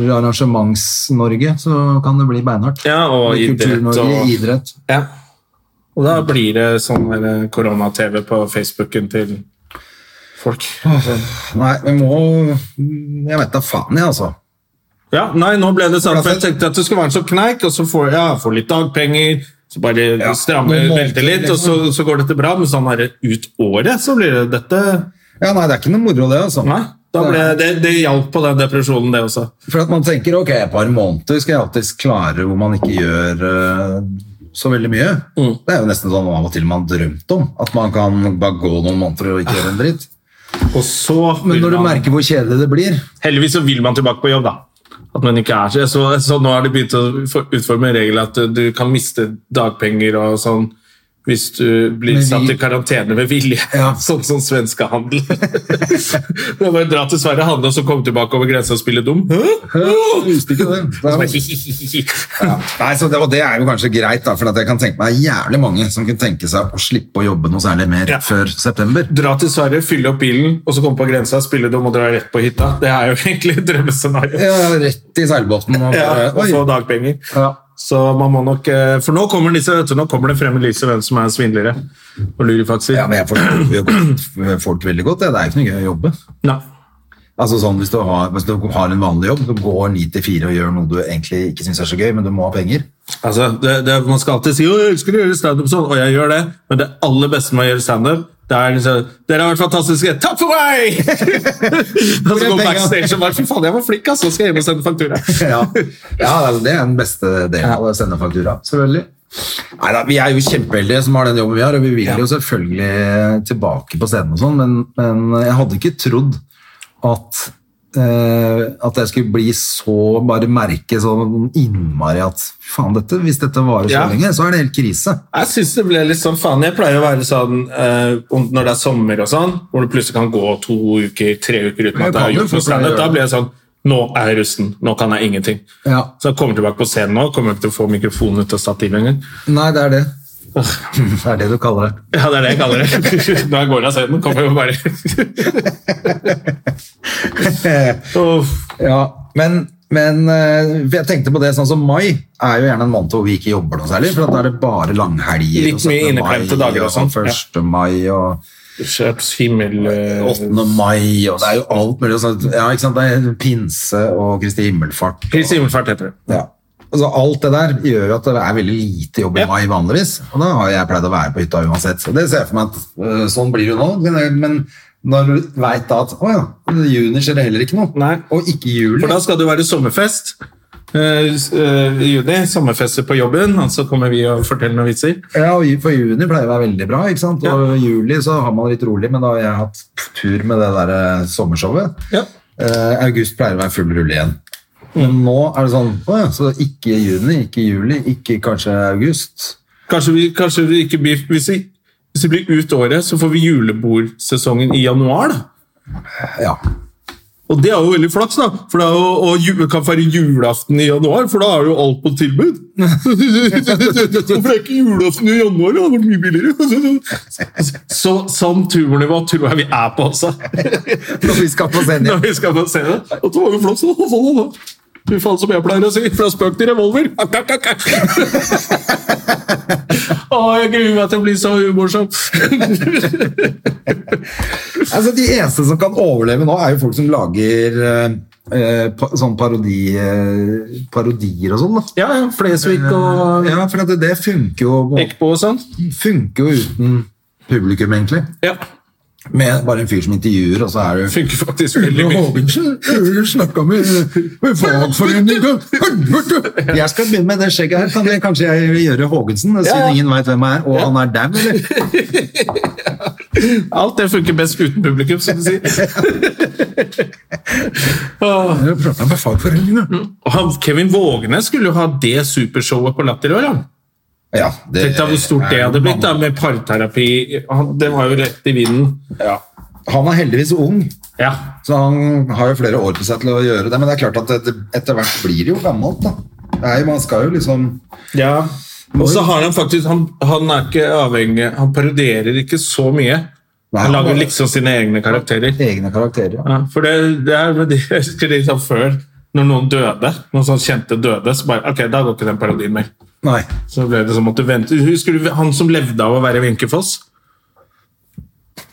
Arrangements-Norge så kan det bli beinhardt. Ja, og Med idrett Kultur-Norge, og idrett. ja. Og da blir det sånn der korona-TV på Facebooken til folk. Nei, vi må Jeg vet da faen, jeg, altså. Ja, nei, nå ble det sånn, for jeg tenkte at det skulle være en sånn kneik, og så får ja, får litt dagpenger, så bare strammer noen måneder, liksom. beltet litt, og så, så går dette bra, men sånn er det ut året, så blir det dette... Ja, nei, det er ikke noe moro, det, altså. Nei, da ble det, det hjalp på den depresjonen det også. For at man tenker ok, et par måneder skal jeg alltid klare hvor man ikke gjør eh, så veldig mye. Mm. Det er jo nesten sånn av og til man har drømt om. At man kan bare gå noen måneder og ikke gjøre en dritt. Ah. Og så... Men vil når du man- merker hvor kjedelig det blir Heldigvis så vil man tilbake på jobb, da. At man ikke er så, så, så nå har de begynt å for- utforme en regel at uh, du kan miste dagpenger og sånn hvis du blir Men vi- satt i karantene med vilje. Ja. Sånn som svenskehandel. det er bare å dra til Sverige, handle og så komme tilbake over grensa og spille dum. Hæ? Jeg visste ikke det. Det er- Ja. Ja. Nei, så det, og det er jo kanskje greit, da, for at jeg kan tenke meg jævlig mange som kunne tenke seg å slippe å jobbe noe særlig mer Ja. før september. Dra til Sverige, fylle opp bilen, og så komme på grensa, spille dum og dra rett på hytta. Det er jo egentlig drømmescenarioet. Ja, rett i seilbåten. Og, Ja, bare, og oi. få dagpenger. Ja. Så man må nok eh, For nå kommer, disse, vet du, nå kommer det frem i lyset hvem som er svindlere og lurifakser. ja, men jeg forstår jo godt- folk veldig godt. Det, det er jo ikke noe gøy å jobbe. Nei. Altså sånn, hvis du, har, hvis du har en vanlig jobb, du går 9 til 4 og gjør noe du egentlig ikke syns er så gøy, men du må ha penger. Altså, det, det, man skal alltid si «Å, jeg elsker å gjøre standup sånn, og jeg gjør det, men det aller beste med å gjøre standup det er liksom, Dere har vært fantastiske! Takk for meg! og så går penga? backstage og bare Fy faen, jeg var flink, ass! Nå skal jeg hjem og sende faktura. Ja, ja altså, det er den beste delen av å sende faktura. Selvfølgelig. Neida, vi er jo kjempeheldige som har den jobben vi har, og vi vil jo selvfølgelig tilbake på scenen og sånn, men, men jeg hadde ikke trodd at eh, at jeg skulle bli så bare merke sånn innmari at faen dette, hvis dette varer så Ja. lenge, så er det helt krise. Jeg synes det ble litt sånn faen. Jeg pleier å være sånn eh, om- når det er sommer og sånn, hvor du plutselig kan gå to uker, tre uker uten Men at jeg har kan du gjort for noe pleier å standup. gjøre Da det? blir jeg sånn Nå er jeg rusten. Nå kan jeg ingenting. Ja. Så jeg kommer tilbake på scenen nå, kommer jeg ikke til å få mikrofonen ut av stativet engang. Nei, det er det. Det er det du kaller det. Ja, det er det jeg kaller det. Når jeg går av scenen, kommer jeg jo bare Uff. Ja, men, men eh, for jeg tenkte på det sånn som mai er jo gjerne en måned hvor vi ikke jobber noe særlig, for at da er det bare langhelger. Litt og 17. mye inneklemte mai, dager og sånn, ja. 1. mai og Kjøps himmel eh, 8. mai, og det er jo alt mulig. og sånn. Ja, ikke sant? Det er pinse og Kristi himmelfart. og- Kristi himmelfart heter det. Ja. Altså, alt det der gjør jo at det er veldig lite jobb i Ja. mai vanligvis, og da har jeg pleid å være på hytta uansett. Så det ser jeg for meg at øh, sånn blir det jo nå, men- men når du veit da at å ja, i juni skjer det heller ikke noe, Nei. og ikke i juli. For da skal det jo være sommerfest eh, s- eh, i juni. Sommerfester på jobben, og så kommer vi og forteller noen vitser. Ja, og ju- for juni pleier å være veldig bra, ikke sant? Og Ja. i juli så har man litt rolig, men da har jeg hatt tur med det der eh, sommershowet. Ja. Eh, august pleier å være full rulle igjen. Men nå er det sånn, å ja, så ikke i juni, ikke i juli, ikke kanskje august. Kanskje vi, kanskje vi ikke blir hvis vi, hvis vi blir ut året, så får vi julebordsesongen i januar. da. Ja, Og det er jo veldig flaks, da. For det er jo, og ju- kan feire julaften i januar, for da er jo alt på tilbud. Hvorfor er ikke julaften i januar? da? Det hadde vært mye billigere. Så, sånn turnivå tror jeg vi er på også. når vi skal på scenen Når igjen. vi skal på scenen. Og det var jo flaks, da. Fy faen, som jeg pleier å si. Fra spøk til revolver. Ak, ak, ak, ak. Å, jeg gruer meg til å bli så umorsom. Altså, de eneste som kan overleve nå er jo folk som lager eh, eh, pa, sånn parodi, eh, parodier og sånn. da. Eh, Ja, ja, Flesvig og Ja, for at det, det funker jo, Ekbo og sånn. funker jo uten publikum, egentlig. Ja, Med bare en fyr som intervjuer, og så er du Funker faktisk veldig Ole mye. Hågensen, jeg snakka med med fagforeningen Helvete! Jeg skal begynne med det skjegget her. Kan jeg, kanskje jeg gjøre Hågensen, siden ja. ingen veit hvem jeg er, og han er dau, eller? Alt det funker best uten publikum, som du sier. Åh, Jeg prata med fagforeningen. Og han, Kevin Vågene skulle jo ha det supershowet på Latter i år. han. Ja, det, Tenk deg hvor stort det hadde blitt da, med parterapi. Han- Det var jo rett i vinden. Ja. Han er heldigvis ung, Ja, så han har jo flere år på seg til å gjøre det. Men det er klart at etter, etter hvert blir det jo gammelt, da. Det er jo, man skal jo liksom Ja. Og så har han faktisk han, han er ikke avhengig Han parodierer ikke så mye. Nei, Han lager bare- liksom sine egne karakterer. egne karakterer. Ja. Ja, for det, det er men det jeg husker litt sånn før, når noen døde, noen sånn kjente døde, så bare Ok, da går ikke den parodien mer. Nei. Så ble det som at du vente. Husker du han som levde av å være Wenche Foss?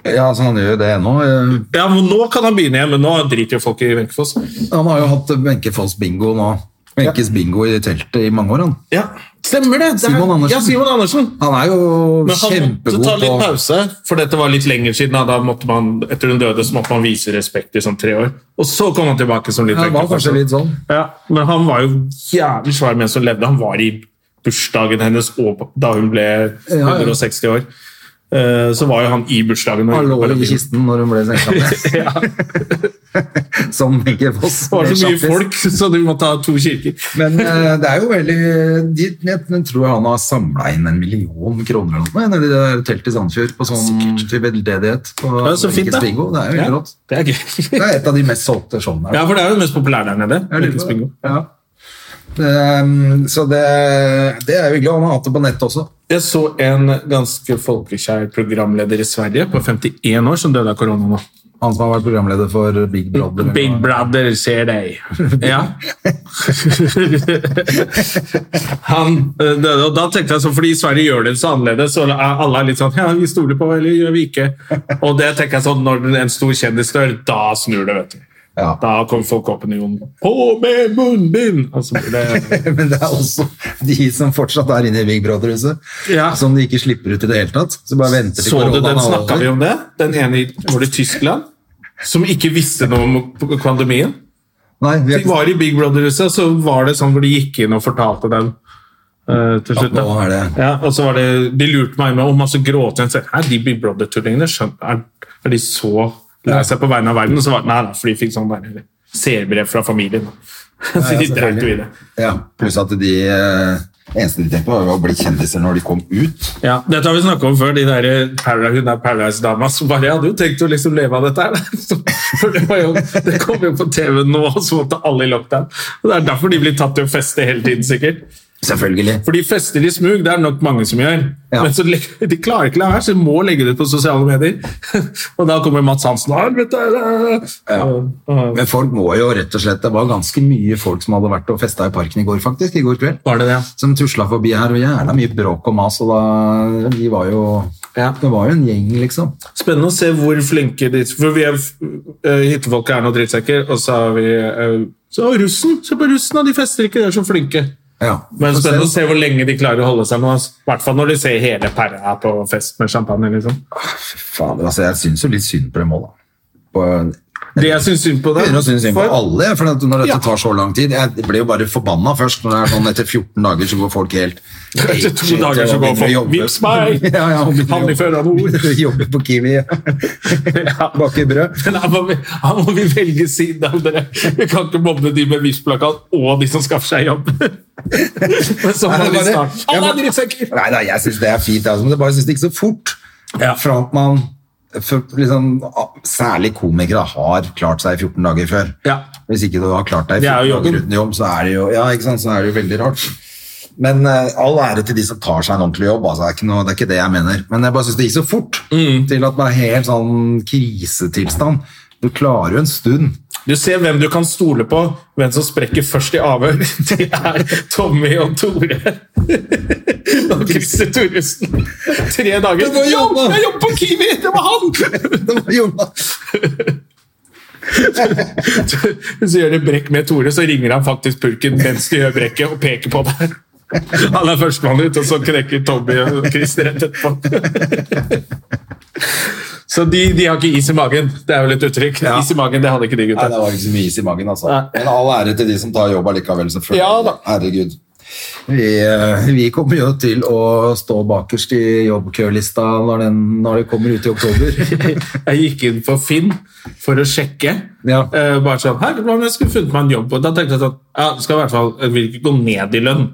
Ja, altså, han gjør jo det ennå. eh, Ja, men nå kan han begynne igjen, men nå driter jo folk i Wenche Foss. Han har jo hatt Wenche Foss bingo nå. Wenches bingo i teltet i mange år, han. Ja, stemmer det! det er- Simon Andersen. Ja, Simon Andersen. Han er jo Men han måtte kjempegod ta litt på pause, for dette var litt lenger siden. Da Da måtte man, etter hun døde, så måtte man vise respekt i sånn tre år. Og så kom han tilbake som litt Ja, det var Wenche Foss. kanskje litt sånn. Ja, men han var jo jævlig svær mens hun levde. Han var i bursdagen hennes og på- da hun ble ja. 160 år. Eh, Så var jo han i bursdagen. og- Han lå i kisten når hun ble senka ned. Ja, Som Wenche Foss. det var så ble mye kjappis. folk, så du måtte ha to kirker. Men eh, det er jo veldig de, jeg, jeg tror han har samla inn en million kroner eller noe nedi det der teltet i Sandfjord på sånn til veldedighet. På Ja, så Wenches fint, da. bingo. Det er jo Ja, helt rått. det er gøy. Det er et av de mest solgte showene. her. Ja, for det er jo det mest populære der Jeg nede. lurer på Wenches bingo. det. Ja. Ehm, så det, det er jo hyggelig. Han har hatt det på nettet også. Jeg så en ganske folkekjær programleder i Sverige på 51 år som døde av korona nå. Han som har vært programleder for Big Brother. Big brother ser deg. Ja. Han eh, døde, og da tenkte jeg sånn, fordi Sverige gjør det så annerledes, så er alle er litt sånn Ja, vi stoler på, eller gjør vi ikke? Og det tenker jeg sånn, når en stor kjendis dør, da snur det, vet du. Ja. Da kommer folkeopinionen. På med munnbind! Altså, det, Men det er også de som fortsatt er inne i Big Brother-huset, Ja. som de ikke slipper ut i det hele tatt. Så bare venter til så du den koronaen er snakka vi over. om det? Den ene i var det Tyskland? Som ikke visste noe om pandemien? Nei, vi De har ikke var i Big Brother-huset, så var det sånn hvor de gikk inn og fortalte dem eh, til snakket slutt. nå da. er det. Ja, og så var det, De lurte meg med om masse gråting. Jeg sa, Hæ, de Big Brother-tullingene, skjønner- er, er de så lei seg på vegne av verden? Og så var det, nei, nei, for de fikk sånn der seerbrev fra familien. så de dreit jo i det. Ja, pluss at de eh, eneste de tenkte på, var å bli kjendiser når de kom ut. Ja, Dette har vi snakka om før, de der eh, Paradise, hun der Paradise-dama som bare Jeg hadde jo tenkt å liksom leve av dette her. da." For det, var jo, det kom jo på TV nå, og så måtte alle i lockdown. Og Det er derfor de blir tatt til å feste hele tiden, sikkert. Selvfølgelig. For de fester i smug, det er nok mange som gjør. Ja. Men så, legger- de klarer ikke la være, så de må legge det ut på sosiale medier. og da kommer Mats Hansen og helvete! Ja. Og- og- Men folk må jo rett og slett Det var ganske mye folk som hadde vært og festa i parken i går, faktisk. I går kveld. Var det det? Som tusla forbi her, og jævla mye bråk og mas, og da De var jo Ja. Det var jo en gjeng, liksom. Spennende å se hvor flinke de For vi er uh, hyttefolket er noen drittsekker, og så har vi eh, Så russen! Se på russen, da, de fester ikke, de er så flinke. Ja. Men Få se. spennende å se hvor lenge de klarer å holde seg nå. altså. I hvert fall når de ser hele pæra på fest med champagne. liksom. Fader, altså, jeg syns jo litt synd på dem òg, da. På Det jeg syns synd på det begynner å synes synd på for- alle, for at når dette Ja. tar så lang tid Jeg ble jo bare forbanna først når det er sånn etter 14 dager så går folk helt Etter to dager så begynner går å folk, jobbe. «Vips meg!» ja, ja, og begynner å Havner i Førde av nord. Jobbe på Kiwi. Bake brød. Men her må vi, her må vi velge side av dere. Vi kan ikke mobbe de med VIPS-plakat og de som skaffer seg jobb. Men så må Nei, vi bare- starte. Alle er drittsekker! Nei, nei, jeg syns det er fint, jeg også, men jeg bare syns det gikk så fort. Ja. Fra at man for, liksom, Særlig komikere har klart seg 14 dager før. Ja. Hvis ikke du har klart deg Det er 14 jo dager jobben. uten jobb, så er det jo ja, ikke sant? Så er det jo veldig rart. Men eh, all ære til de som tar seg en ordentlig jobb. Altså, det, er ikke noe, det er ikke det jeg mener. Men jeg bare syns det gikk så fort Mm. til at det er helt sånn krisetilstand. Du klarer jo en stund. Du ser hvem du kan stole på. Hvem som sprekker først i avhør. Det er Tommy og Tore. Og Christer Thoresen. Tre dager. Det var Jobb! jobben. Jeg jobber på Kiwi! Det var han! Det var jo- Så gjør de brekk med Tore, så ringer han faktisk pulken mens de gjør brekket og peker på deg. Han er førstemann ut, og så knekker Tommy og Christer rett etterpå. Så de, de har ikke is i magen. Det er vel et uttrykk. Ja. Is i magen, det hadde ikke de Nei, det gutta. var ikke så mye is i magen, altså. Nei. Men all ære til de som tar jobb allikevel, selvfølgelig. Ja, da. Herregud. Vi, eh, vi kommer jo til å stå bakerst i jobbkølista når, den- når det kommer ut i oktober. Jeg gikk inn for Finn for å sjekke. Ja. Eh, bare sånn, her, hvordan jeg skulle funnet meg en jobb? Og da tenkte jeg sånn, ja, det skal i hvert fall jeg vil ikke gå ned i lønn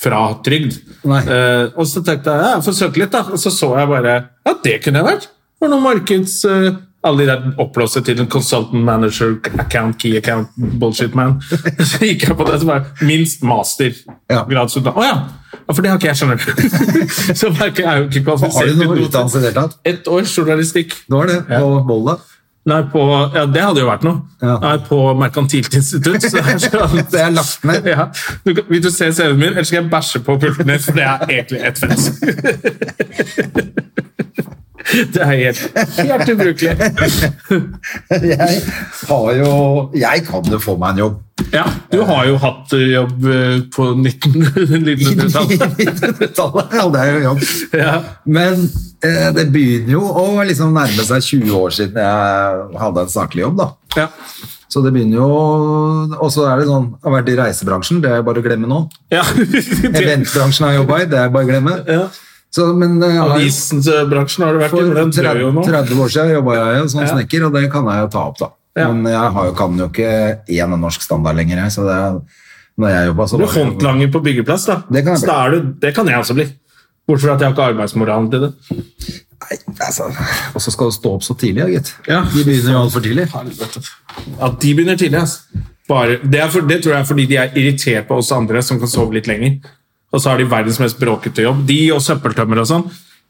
fra trygd. Nei. Eh, og så tenkte jeg, ja, jeg får søke litt da. Og så så jeg bare, ja, det kunne jeg vært. For noen markeds, eh, alle de der oppblåste til en consultant manager, account, key account, bullshit man. Så gikk jeg på det som var minst master. Ja. gradsutdann- Å ja. ja, for det har ikke jeg, skjønner du. så jeg er ikke- jeg er jo ikke kvalifisert. Har du til noe noe. utdannelse i det hele tatt? Et års journalistikk. Det var det, på Volda. Nei, på, ja, det hadde jo vært noe. Ja. Nei, på Merkantilt institutt. Så det er sånn- Det er lagt ned. Ja. Du, kan- vil du se CV-en min, eller skal jeg bæsje på pulten din? For det er egentlig et fett. Det er helt, helt ubrukelig. Jeg har jo Jeg kan jo få meg en jobb. Ja, du har jo hatt eh, jobb eh, på 1900-tallet. Tallet, ja, det er jo jobb. Ja. Men eh, det begynner jo å liksom nærme seg 20 år siden jeg hadde en saklig jobb, da. Ja. Så det begynner jo Og så er det sånn Jeg har vært i reisebransjen, det er bare å glemme nå. ja. Det, Eventbransjen har jeg jobba i, det er bare å glemme. ja. Så, men eh, jeg har- Avisbransjen har du vært i, for men den dør jo 30, nå. 30 år siden jobba jeg jo som Ja. snekker, og det kan jeg jo ta opp, da. Ja. Men jeg har jo, kan jo ikke én norsk standard lenger, jeg. Så det er, når jeg jobba, så Du er var det jo- håndlanger på byggeplass, da. Det kan jeg Så bli. da er du, det kan jeg også bli. Bortsett fra at jeg har ikke arbeidsmoralen til det. Nei, altså, Og så skal du stå opp så tidlig, ja, gitt. Ja. De begynner jo altfor tidlig. At de begynner tidlig, ass. Bare, det, er for, det tror jeg er fordi de er irritert på oss andre som kan sove litt lenger. Og så har de verdens mest bråkete jobb. De og søppeltømmer og sånn.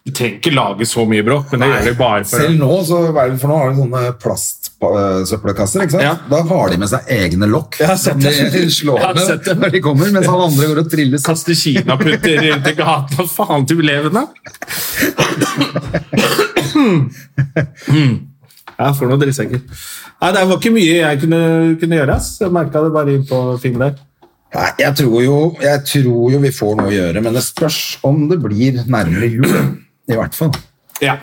De trenger ikke lage så mye bråk, men det gjør de bare for Selv nå, så, hva er det for nå har de sånne plastsøppelkasser. ikke sant? Ja. Da har de med seg egne lokk. Jeg har sett det. Som De slår Jeg har sett med det. når de kommer, mens alle andre går og triller. sammen. kaste kinaputter rundt i gaten. Hva faen til elevene? Jeg får noen drittsekker. Nei, Det var ikke mye jeg kunne, kunne gjøre. ass. Jeg merka det bare inn på fingeren der. Nei, jeg tror, jo, jeg tror jo vi får noe å gjøre, men det spørs om det blir nærmere jul. I hvert fall. Ja.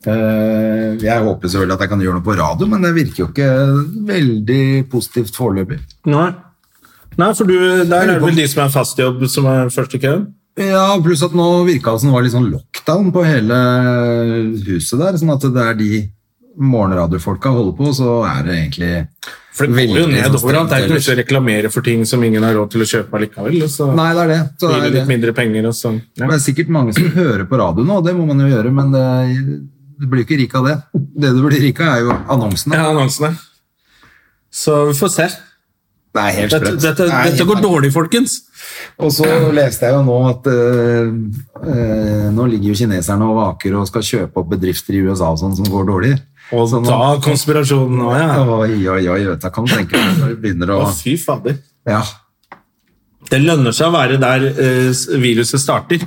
Eh, Jeg håper selvfølgelig at jeg kan gjøre noe på radio, men det virker jo ikke veldig positivt foreløpig. Nei. Nei, for du, der er lurer det på- vel de som er fast i jobb, som er først i køen? Ja, pluss at nå virka det som det var litt sånn lockdown på hele huset der. Sånn at det er de morgenradiofolka holder på, så er det egentlig For det går jo Veldig ned sånn overalt. Det strengt er ikke noe å reklamere for ting som ingen har råd til å kjøpe likevel. Så Nei, det er det. Så det, blir det litt er det. mindre penger og sånn. det Ja. er sikkert mange som hører på radio nå, det må man jo gjøre, men det, du blir jo ikke rik av det. Det du blir rik av, er jo annonsene. ja, annonsene. Så vi får se. Det er helt Dette, sprøtt. dette, Det er helt dette går sprøtt. dårlig, folkens. Og så leste jeg jo nå at eh, eh, nå ligger jo kineserne og vaker og skal kjøpe opp bedrifter i USA og sånn som går dårlig. Og Så nå- da konspirasjonen òg, ja. Oi, oi, oi, vet du, jeg kan du tenke deg når det begynner å Å, fy fader. Ja, Det lønner seg å være der eh, s- viruset starter.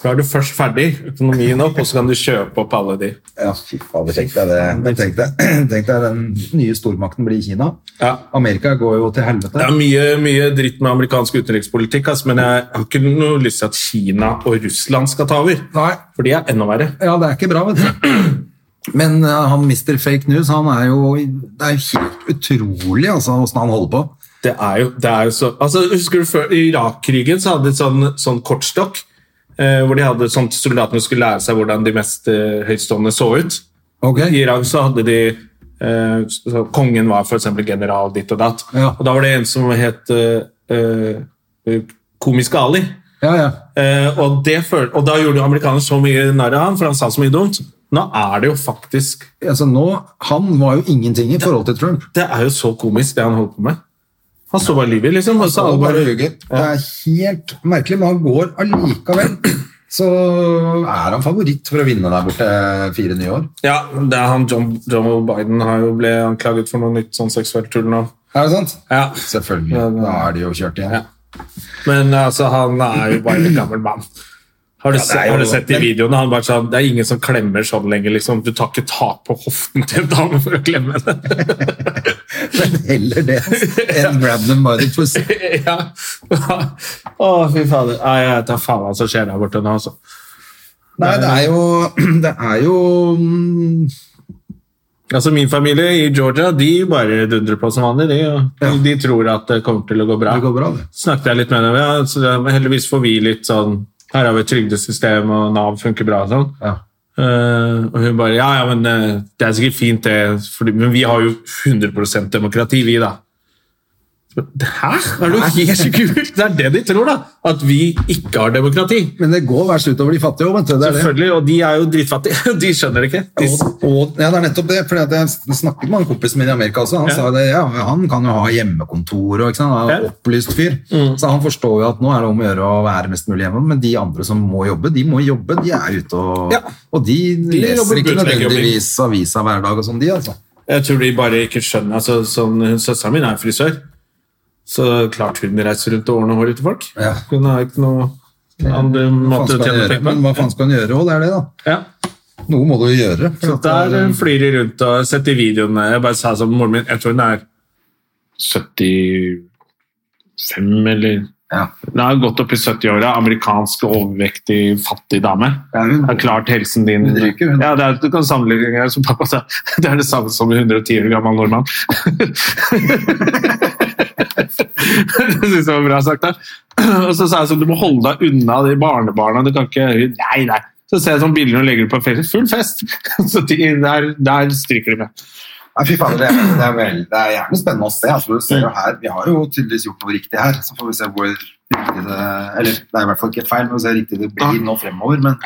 For Da er du først ferdig, økonomien opp, og så kan du kjøpe opp alle de. ja fy fader, tenk deg det. Men Tenk deg, tenk deg den nye stormakten blir Kina. Ja. Amerika går jo til Det helvete. er mye, mye dritt med amerikansk utenrikspolitikk, ass, men jeg har ikke noe lyst til at Kina og Russland skal ta over. Nei, For de er enda verre. ja, det er ikke bra, vet du. Men eh, han mister fake news, han er jo Det er jo helt utrolig, altså, åssen han holder på. Det er jo, det er jo så altså, Husker du før i Irak-krigen så hadde de et sånn, sånn kortstokk eh, hvor de hadde sånn at soldatene skulle lære seg hvordan de mest eh, høytstående så ut. Ok? I Irak så hadde de eh, så Kongen var f.eks. general ditt og datt. Ja. Og da var det en som het eh, eh, Komiske Ali. Ja, ja. Eh, og, det føl og da gjorde amerikanerne så mye narr av han, for han sa så mye dumt. Nå er det jo faktisk Altså nå, Han var jo ingenting i forhold til Trump. Det er jo så komisk, det han holdt på med. Han så bare og lyver, liksom. Og så alle bare Det er helt merkelig, men han går allikevel. Så er han favoritt for å vinne der borte fire nye år. Ja, det er han John, John Biden har jo ble anklaget for noe nytt sånn seksuelt tull nå. Er det sant? Ja. Selvfølgelig. Da er de jo kjørt igjen. Men altså, han er jo bare en gammel mann. Har du, Ja, det er se- jo- har du sett de men- videoene? Han bare sånn, Det er ingen som klemmer sånn lenger. liksom. Du tar ikke tak på hoften til en dame for å klemme henne. Men heller det enn grab them by the pussy. ja. Å, fy fader. Nei, jeg tar faen hva som skjer der borte nå. altså. Nei, det er jo, det er jo mm, Altså, Min familie i Georgia de bare dundrer på som vanlig. De, og de, de tror at det kommer til å gå bra. Det går bra, det. Snakket jeg litt med dem. Ja, så det- heldigvis får vi litt sånn Her har vi et trygdesystem, og Nav funker bra. og sånn. Ja. Eh, og hun bare Ja, ja, men eh, det er sikkert fint, det. Fordi, men vi har jo 100 demokrati, vi, da. Så, Hæ? Er du helt kul? Det er det de tror, da. At vi ikke har demokrati. Men det går verst utover de fattige òg, vet du. Det er det. Selvfølgelig, Og de er jo dritfattige. De skjønner det ikke. De, Og, og, ja, det er nettopp det. Fordi at jeg snakket med en kompis min i Amerika også. Han Ja. sa det, ja, han kan jo ha hjemmekontor og ikke sant? Han er Ja. en opplyst fyr. Så han forstår jo at nå er det om å gjøre å være mest mulig hjemme. Men de andre som må jobbe, de må jobbe. De er ute og Ja. Og de, jobber leser ikke bunnleggjobbing. nødvendigvis avisa hver dag og sånn, de, altså. Jeg tror de bare ikke skjønner altså, sånn, hun- Søsteren min er frisør, så klart hun reiser rundt og ordner håret til folk. Ja. Hun har ikke noe andre Hva faen måte å skal han tjene gjøre? penger Men på. hva faen skal han gjøre òg? Det er det, da. Ja. Noe må du jo gjøre. Så der eh, flyr de rundt og jeg har sett de videoene. Jeg bare sa som moren min, jeg tror hun er 75 eller Ja. Hun har gått opp i 70-åra, amerikansk overvektig, fattig dame. Ja, hun- har klart helsen din. Hun ryker, hun. Ja, det er, du kan sammenligne som pappa sa. Det er det samme som en 110 år gammel nordmann. det synes jeg var bra sagt. Da. Og så sa jeg sånn, du må holde deg unna de barnebarna. Du kan ikke Nei, nei. Så ser jeg sånn bilder og legger det på Facebook. Full fest! Så de, der, der stryker de med. Nei, fy faen, det, er- det, er vel, det er gjerne spennende å se. Altså, du ser jo her, vi har jo tydeligvis gjort noe riktig her, så får vi se hvor riktig det Eller det er i hvert fall ikke feil, men vi ser riktig det blir nå fremover. Men,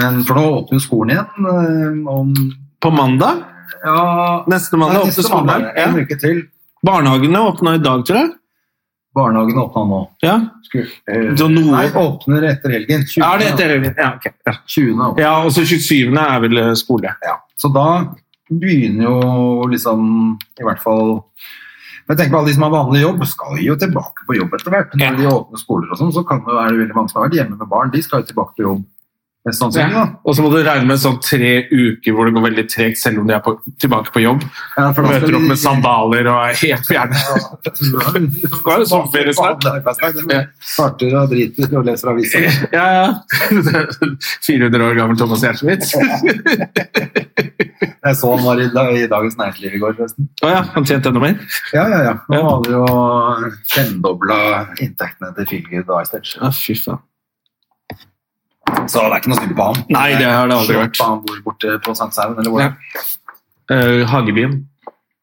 men for nå åpner skolen igjen eh, om På mandag? Ja, Neste mandag nei, åpner neste skolen mandag, her. En Ja. uke til. Barnehagene åpna i dag, tror jeg. Barnehagen åpna nå. Ja. Eh, Så noe- Nei, åpner etter helgen. 20. Ja, det er etter helgen. Ja, ok. ja. 20. åpner. ja, og så 27. er vel eh, skole. Ja. Så da begynner jo liksom I hvert fall men tenk på alle de som har vanlig jobb, skal jo tilbake på jobb etter hvert. Når Ja. de åpner skoler og sånn, så kan det, jo- er det veldig mange som har vært hjemme med barn. De skal jo tilbake på jobb. Mest sannsynlig, Ja. da. Og så må du regne med sånn tre uker hvor det går veldig tregt, selv om de er på, tilbake på jobb. Ja, for da skal Møter de- opp med sandaler og er helt fjerne. Ja. Hva er det som skjer snart? Vanlig arbeidsdag. Ja. De Starter og driter og leser aviser. Ja, ja. 400 år gammel Thomas Gjertsevitz. Å Jeg så han var i, da- i Dagens Næringsliv i går, forresten. ja, han tjente enda mer. Ja, ja, ja. Nå Ja. har de jo femdobla inntektene til Filgud Icetech. Ja, fy faen. Så det er ikke noe synd på ham. Nei, det har det aldri Slå vært. på Han bor borte på Sankthanshaugen, eller hvor? Ja. Eh, Hagebyen.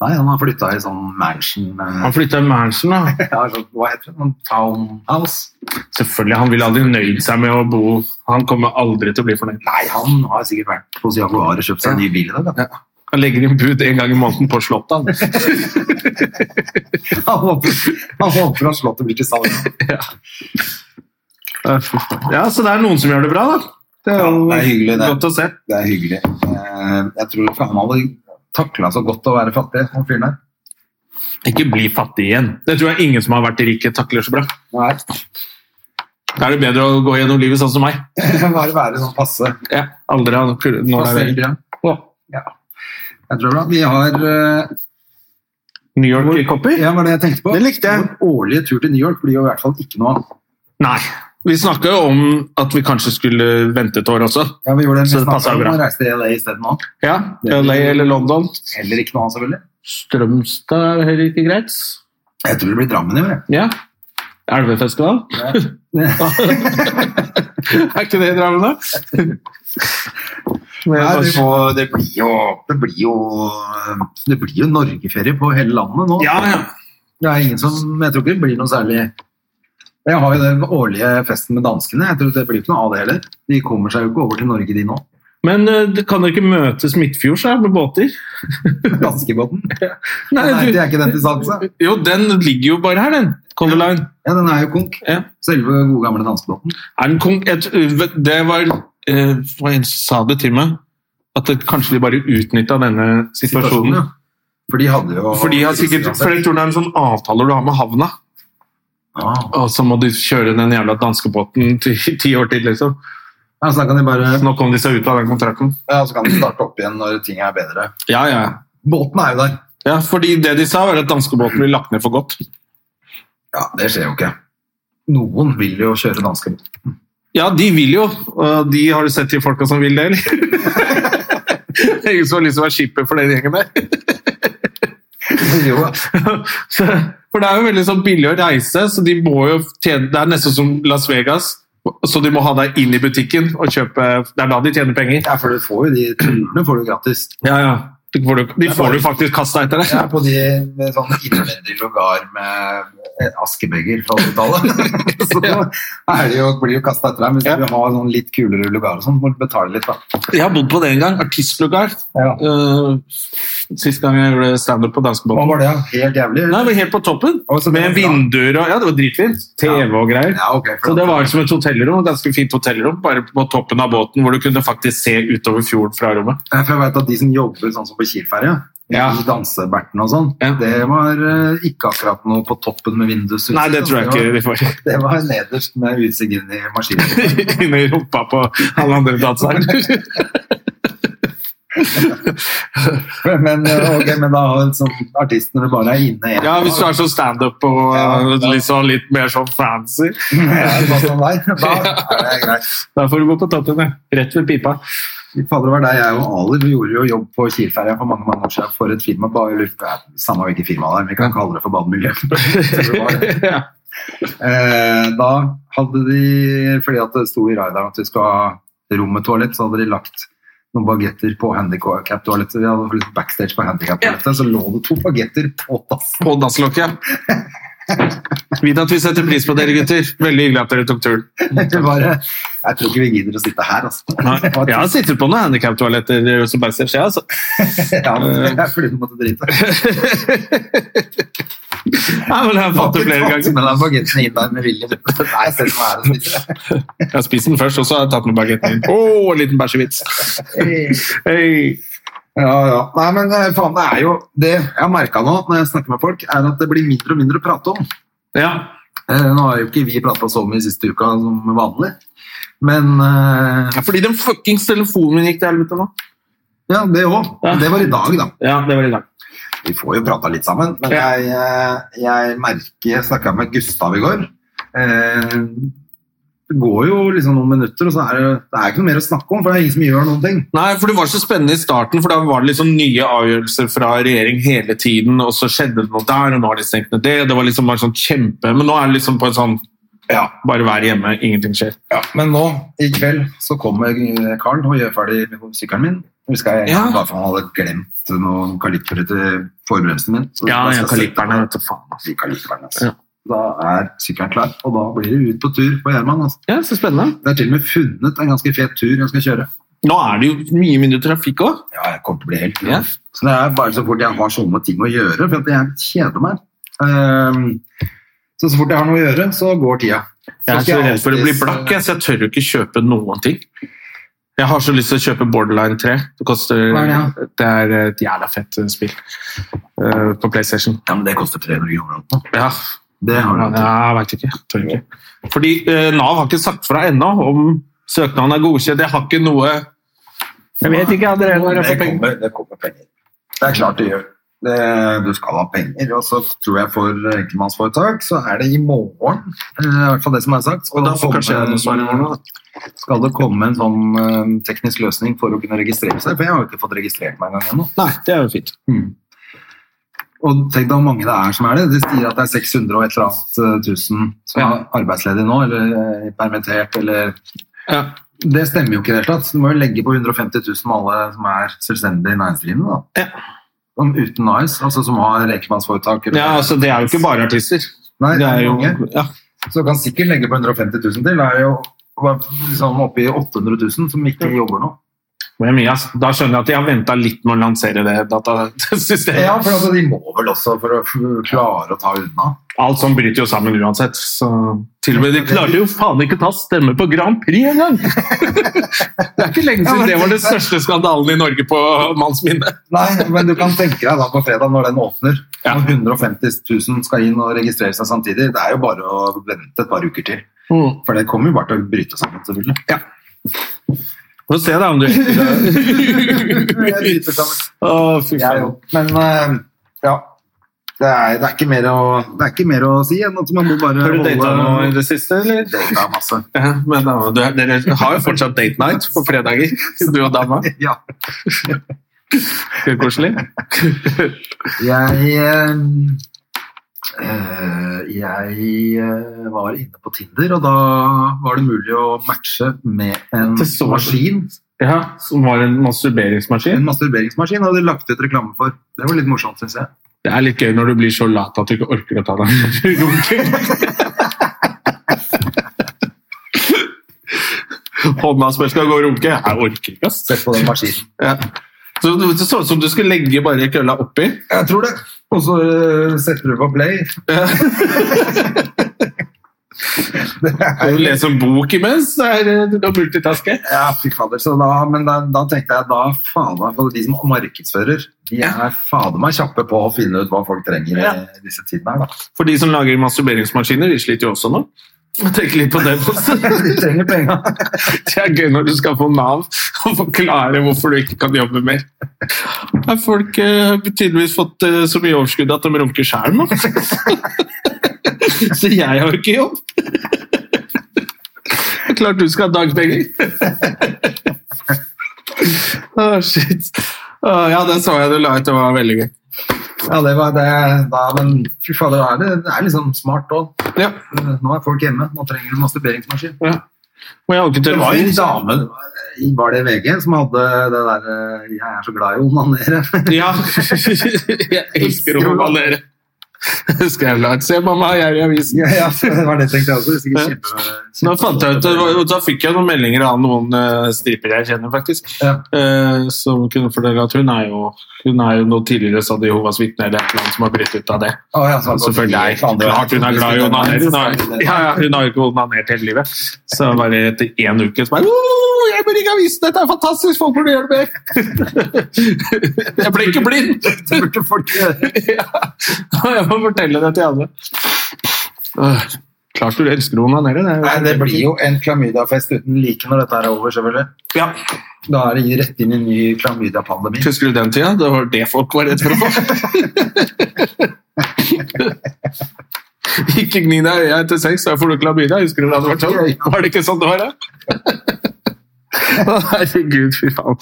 Nei, han har flytta i sånn mansion eh, Han flytta til Mærensen, da. ja, sånn, Hva heter det? Sånn townhouse? Selvfølgelig, han ville aldri nøyd seg med å bo Han kommer aldri til å bli fornøyd. Nei, han har sikkert vært hos Jaguar og kjøpt seg en ny bil i dag. da. Han legger inn bud en gang i måneden på Slottet. han. Han håper han håper at slottet blir til salg. Ja, fy faen. Ja, så det er noen som gjør det bra, da. Det er jo Ja, det er hyggelig, det. godt å se. Det er hyggelig. Eh, Jeg tror ikke han hadde takla så godt å være fattig, han fyren der. Ikke bli fattig igjen. Det tror jeg ingen som har vært rike, takler så bra. Nei, Da er det bedre å gå gjennom livet sånn som meg. Bare være sånn passe. Ja, aldri ha noe kul- når det er- Passe ja. ja. Jeg tror det er bra. Vi har eh, New York-kopper. Ja, var det jeg tenkte på. Det likte jeg. Vår årlige tur til New York blir jo i hvert fall ikke noe av. Nei. Vi snakka jo om at vi kanskje skulle vente et år også. Ja, vi gjorde det Så det nesten passer akkurat bra. nå, reiste til LA isteden nå. Ja, LA eller London. Heller ikke noe av, selvfølgelig. Strømstad er heller ikke greit. Jeg tror det blir Drammen i år. jeg. Ja. Elvefestival. er ikke det i Drammen, da? Men Nei, bare- det, må- det blir jo Det blir jo, det blir jo Norgeferie på hele landet nå. Ja, ja. Det er ingen som Jeg tror ikke det blir noe særlig Jeg har jo den årlige festen med danskene. Jeg tror Det blir ikke noe av det heller. De kommer seg jo ikke over til Norge, de nå. Men eh, det kan dere ikke møtes midtfjords da, med båter? Danskebåten. Nei, Nei, du- det er ikke den til salgs, da. Jo, den ligger jo bare her, den. Color Line. Ja, den er jo konk. Ja. Selve gode, gamle danskebåten. Er den konk... Et, det var eh, hva en som sa det til meg, at det, kanskje de bare utnytta denne situasjonen. ja. For de hadde jo For de har sikkert, for jeg tror det er en sånn avtale du har med havna, Ah. og så må du kjøre den jævla danskebåten ti, ti år til, liksom. Ja, så da kan de bare Nå kom de seg ut av den kontrakten. ja, så kan de starte opp igjen når ting er bedre. Ja, ja. Båten er jo der. ja fordi det de sa, var at danskebåten blir lagt ned for godt. Ja, det skjer jo ikke. Noen vil jo kjøre danske båt. Ja, de vil jo. Og de har du sett de folka som vil det, eller? Ingen som har lyst til å være skipper for den gjengen der. Jo, Så, for det er jo veldig sånn billig å reise, så de må jo tjene Det er nesten som Las Vegas, så de må ha deg inn i butikken og kjøpe Det er da de tjener penger. ja, for du får jo de turene får du gratis. Ja, ja. De får du, de får du faktisk kasta etter Ja, deg. på de med sånn innvendig lugar med askebeger fra 80-tallet. Så er det jo, blir jo kasta etter deg, men hvis Ja. du har sånn litt kulere lugar og sånn, må du betale litt, da. Jeg har bodd på det en gang. Artistlugar. Ja. Uh, sist gang jeg gjorde standup på Hva danskebåten. var det? da? Helt jævlig? Nei, eller? det var helt på toppen. Å, så det Med var bra. vinduer og Ja, det var dritfint. TV og greier. Ja, ok. for Så det da- var som et hotellrom, et ganske fint hotellrom, bare på toppen av båten, hvor du kunne faktisk se utover fjorden fra rommet. Ja, For jeg vet at de som jobber sånn som på Kielferja, Ja. i dansebertene og sånn, Ja. det var eh, ikke akkurat noe på toppen med vindusutsikt. Nei, det tror jeg ikke de får. Det var nederst med utsikt inn i maskinen. Inne i rumpa på alle andre danseren. Men, eh, ok, men da har en sånn artist når du bare er inne Ja, hvis du er sånn standup og Ja, ja. liksom litt mer sånn fancy. Ja, sånn som deg, da er det greit. Da får du gå på toppen, ja. Rett ved pipa. Fy Fader, det var deg, jeg og Ali. Vi gjorde jo jobb på Kielferja for mange mange år siden for et firma. Bare lurer på, ja, samme hvilket firma det er, vi kan kalle det for bademiljø. Så det var det. Ja. Eh, da hadde de, fordi at det sto i radaren at vi skulle ha rom med toalett, så hadde de lagt noen bagetter på handicap-toalettet. Vi hadde litt backstage på handicap-toalettet, så lå det to bagetter på dassen. På dasslokket. Vit at vi setter pris på dere, gutter. Veldig hyggelig at dere tok turen. Det var, eh, jeg tror ikke vi gidder å sitte her, altså. Det var- Jeg har sittet på noen handikaptoaletter som backstage, jeg, altså. Ja, men det er fordi du måtte drite. Ja, men jeg har fått det flere Tatt ganger. med deg bagettene inn der med vilje. Nei, se som er det som sitter. Jeg har spist den først, og så har jeg tatt med bagetten inn. Å, en liten bæsjevits! Hei. Ja, ja. Nei, men eh, faen, det er jo Det jeg har merka nå når jeg snakker med folk, er at det blir mindre og mindre å prate om. Ja. Eh, nå har jo ikke vi prata så mye siste uka som vanlig, men eh, ja, fordi den fuckings telefonen min gikk til helvete nå. Ja, det òg. Det var i dag, da. Ja, det var i dag. Vi får jo prata litt sammen. Men Ja. jeg, eh, jeg merker Jeg snakka med Gustav i går. Eh, det går jo liksom noen minutter, og så er det, det er ikke noe mer å snakke om, for det er ingen som gjør noen ting. Nei, for det var så spennende i starten, for da var det liksom nye avgjørelser fra regjering hele tiden, og så skjedde det noe der, og nå har de stengt ned det, og det var liksom bare sånn kjempe, men nå er det liksom på en sånn, Ja. bare vær hjemme, ingenting skjer. Ja, men nå i kveld så kommer Karl og gjør ferdig sykkelen min. Vi skal Ja. bare for han hadde glemt noen kalippere til forbremsen min. Så Ja, da skal jeg ja, sette kaliperne, meg vet du faen. altså. i kaliperen, altså. Ja. Da er sykkelen klar, og da blir det ut på tur på Gjerman. Altså. Ja, så spennende. Det er til og med funnet en ganske fet tur jeg skal kjøre. Nå er det jo mye mindre trafikk også. Ja, jeg kommer til å bli helt Ja. Så det er bare så fort jeg har sånne ting å gjøre, for at jeg kjeder meg. Ehm, så så fort jeg har noe å gjøre, så går tida. Jeg er så skal jeg redd for å bli alltid- blakk, jeg, så jeg tør jo ikke kjøpe noen ting. Jeg har så lyst til å kjøpe Borderline 3. Det, koster, Hva det, er er et jævla fett eh, spill eh, på PlayStation. Ja, men det koster 300 kroner. eller noe. Ja, Det har du ja, jeg vet ikke. Jeg Tør ikke. Fordi eh, Nav har ikke sagt fra ennå om søknaden er godkjent. Jeg har ikke noe Jeg vet ikke, jeg drev med å få Det penger. kommer, det kommer penger. Det er klart det gjør. Det, du skal ha penger, og så tror jeg for enkeltmannsforetak så er det i morgen, eh, i hvert fall det som er sagt. Og Da får kanskje jeg noe svar i morgen, da. skal det komme en sånn eh, teknisk løsning for å kunne registrere seg, for jeg har jo ikke fått registrert meg engang ennå. Nei, det er jo fint. Og tenk deg hvor mange det er som er det. De sier at det er 600 og et eller annet eh, tusen som Ja. er arbeidsledige nå, eller eh, permittert, eller Ja. Det stemmer jo ikke i det hele tatt. Du må jo legge på 150 000 med alle som er selvstendig næringsdrivende, da. Ja. Som uten NICE, altså som har enkeltmannsforetak. eller- ja, altså Det er jo ikke bare artister. Nei, Det er jo, mange. ja. Så du kan sikkert legge på 150 000 til. Det er jo liksom oppe i 800 000 som ikke jobber nå. Det er mye, ass. Da skjønner jeg at de har venta litt med å lansere det datasystemet. Ja, for altså, de må vel også for å f- klare å ta unna. Alt sånn bryter jo sammen uansett. Så til og med de klarte jo faen ikke ta stemme på Grand Prix engang! det er ikke lenge Ja, siden men det var den tenk deg- største skandalen i Norge på manns minne. Nei, men du kan tenke deg da på fredag når den åpner, Ja. når 150 000 skal inn og registrere seg Mm. samtidig. Det er jo bare å vente et par uker til. For det kommer jo bare til å bryte sammen, selvfølgelig. Få se da om du Jeg driter sammen. Å, fy Jeg faen. jo. Men eh, ja. Det er, det, er ikke mer å, det er ikke mer å si enn at man må bare Har du data noe i det siste, eller? Data masse. Ja, men da, du, dere har jo fortsatt date night på fredager, du og dama. Ja. Det er Koselig. Jeg eh, eh, Jeg eh, var inne på Tinder, og da var det mulig å matche med en Det så- maskin. Ja, som var en masturberingsmaskin. En masturberingsmaskin hadde de lagt ut reklame for. Det var litt morsomt, syns jeg. Det er litt gøy når du blir så lat at du ikke orker å ta deg en runke. Hånda spør skal gå og runke. Jeg orker ikke, ass. Se på den maskinen. Ja. Så du- Det så ut som du skulle legge bare kølla oppi. Jeg tror det. Og så eh, setter du på play. det Og er du leser en bok imens. Det er eh, du kan multitaske. Ja, fy fader. Så da, men da, da tenkte jeg da faen meg, for de som markedsfører, de er fader meg kjappe på å finne ut hva folk trenger i disse tidene her, da. For de som lager masturberingsmaskiner, de sliter jo også nå. Tenk litt på dem også. De trenger penga. Det er gøy når du skal på Nav og forklare hvorfor du ikke kan jobbe mer. Har folk eh, tydeligvis fått eh, så mye overskudd at de runker sjæl nå? Så jeg har ikke jobb. Det er Klart du skal ha dagpenger. Å, shit. Å, ja, den så jeg du la ut. Det var veldig gøy. Ja, det var det. Da, men fy fader, da er det, det er liksom smart òg. Ja, Nå er folk hjemme, nå trenger de masturberingsmaskin. ja. Men jeg har ikke Det var en telefon. dame i- var det VG som hadde det der eh, 'jeg er så glad i å onanere'. Ja. Jeg elsker å romanere. Husker jeg la ut. Se, mamma, jeg er i avisen. ja, ja, det var det tenkte jeg også. Sikkert Ja. kjempe, kjempe, Nå fant jeg ut, det var- Da fikk jeg noen meldinger av noen eh, stripere jeg kjenner, faktisk. Ja. eh, Som kunne fortelle at hun er jo Hun er jo noe tidligere sa de Jehovas vitne eller et eller annet som har brutt ut av det. Å, ja, så han- Selvfølgelig er klart hun er glad i å onanere. Hun har- Ja, ja, hun har jo ikke onanert hele livet. Så bare etter én uke så bare «Åh, jeg burde ikke ha visst dette! Det er fantastisk! Folk burde gjøre det mer! Jeg ble ikke blind! Det burde folk gjøre. Ja. Jeg må fortelle det til alle. Åh, Klart du elsker å onanere. Det er jo Nei, det blir jo en klamydiafest uten like når dette er over, selvfølgelig. Ja. Da er det rett inn i en ny klamydiapandemi. Husker du den tida? Det var det folk var redd for å få. ikke gni deg i øya etter sex, da får du klamydia. Husker du da det var sånn? Var det ikke sånn det var, da? Å, herregud, fy faen.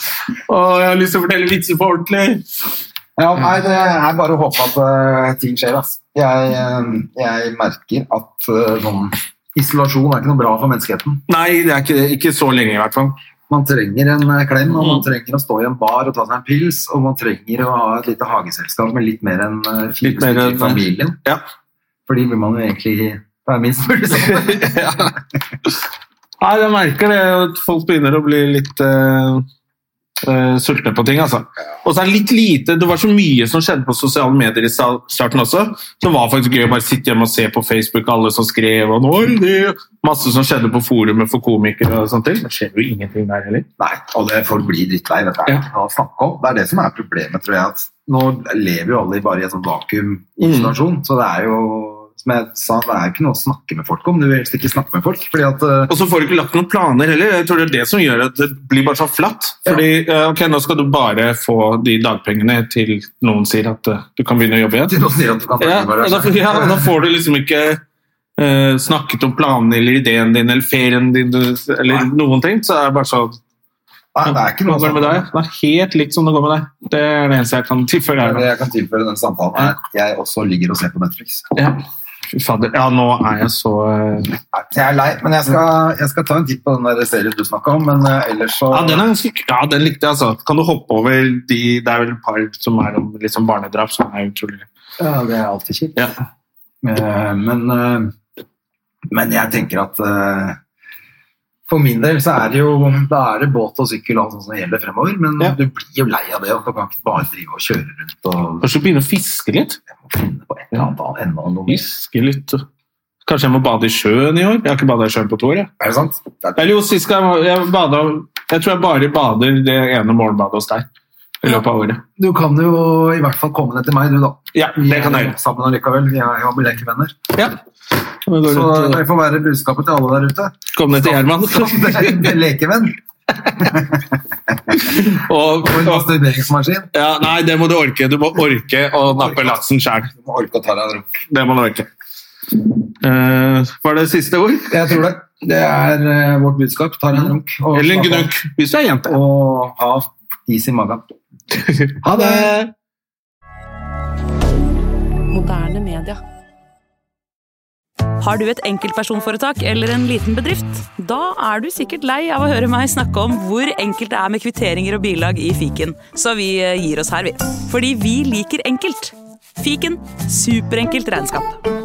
Å, jeg har lyst til å fortelle vitser på ordentlig. Ja, nei, det er bare å håpe at eh, ting skjer, ass. Jeg, eh, jeg merker at eh, sånn isolasjon er ikke noe bra for menneskeheten. Nei, det er ikke, ikke så lenge, i hvert fall. Man trenger en eh, klem, og man trenger å stå i en bar og ta seg en pils, og man trenger å ha et lite hageselskap med litt mer enn eh, fire Litt mer stykker enn- i familien. Ja. For de vil man jo egentlig være minst mulig sammen. ja. Nei, jeg merker det at folk begynner å bli litt eh, eh, sultne på ting, altså. Og så er det litt lite Det var så mye som skjedde på sosiale medier i sta- starten også. Det var faktisk gøy å bare sitte hjemme og se på Facebook alle som skrev og når det Masse som skjedde på forumet for komikere og sånt til. Det skjer jo ingenting der heller. Nei, og det, folk blir drittlei. Dette er Ja. ikke noe å snakke om. Det er det som er problemet, tror jeg. At nå lever jo alle i bare i et sånt vakuum i Mm. isolasjon. Så det er jo som jeg sa, det er ikke noe å snakke med folk om. Du vil helst ikke snakke med folk. fordi at eh, Og så får du ikke lagt noen planer heller. Jeg tror det er det som gjør at det blir bare så flatt. Fordi, eh, ok, nå skal du bare få de dagpengene til noen sier at eh, du kan begynne å jobbe igjen. til noen sier at du kan Ja, snakke med og da, hverandre. ja, og da får du liksom ikke eh, snakket om planene eller ideen din eller ferien din du- eller noen ting. Så er det bare sånn Nei, det er ikke Hva noe sånn. å går snakke det med deg? Det er helt likt som det går med deg. Det er det eneste jeg kan om. tilføre her. Det jeg kan tilføre den samtalen, er at jeg også ligger og ser på Netflix. nå. Ja. Fy fader. Ja, nå er jeg så eh, Nei, Jeg er lei, men jeg skal, jeg skal ta en titt på den der serien du snakka om. Men eh, ellers så Ja, den er ganske k- Ja, den likte jeg, altså. Kan du hoppe over de Det er vel et par som er om liksom barnedrap, som er utrolig Ja, det er alltid kjipt. Ja. Eh, Men, eh, men jeg tenker at eh, for min del så er det jo da er det båt og sykkel og alt sånt som gjelder fremover, men Ja. du blir jo lei av det. og Du kan ikke bare drive og kjøre rundt og Kanskje begynne å fiske litt? finne på et eller annet annet enda noe mer. Fiske litt. Kanskje jeg må bade i sjøen i år? Jeg har ikke bada i sjøen på to år. jeg. Er det sant? Det er- Eller jo, sist gang jeg bada Jeg tror jeg bare bader det ene morgenbadet hos deg. i løpet av året. Du kan jo i hvert fall komme ned til meg, du, da. Ja, det kan jeg Vi gjøre. er Sammen allikevel. Vi er jo lekevenner. Ja. Så Så det får være budskapet til alle der ute. kom ned til Gjerman. Skaff dere en lekevenn Og, og en og, masturberingsmaskin. ja, nei, det må du orke. Du må orke å nappe laksen sjæl. Du må orke å ta deg en drink. Det må du orke. Eh, var det siste ord? Jeg tror det. Det er eh, vårt budskap. Ta deg en drink. og Eller en slapp av. gnukk, hvis du er jente. Og ha is i magen. Ha det! Moderne media. Har du et enkeltpersonforetak eller en liten bedrift? Da er du sikkert lei av å høre meg snakke om hvor enkelt det er med kvitteringer og bilag i fiken, så vi eh, gir oss her, vi. Fordi vi liker enkelt. Fiken superenkelt regnskap.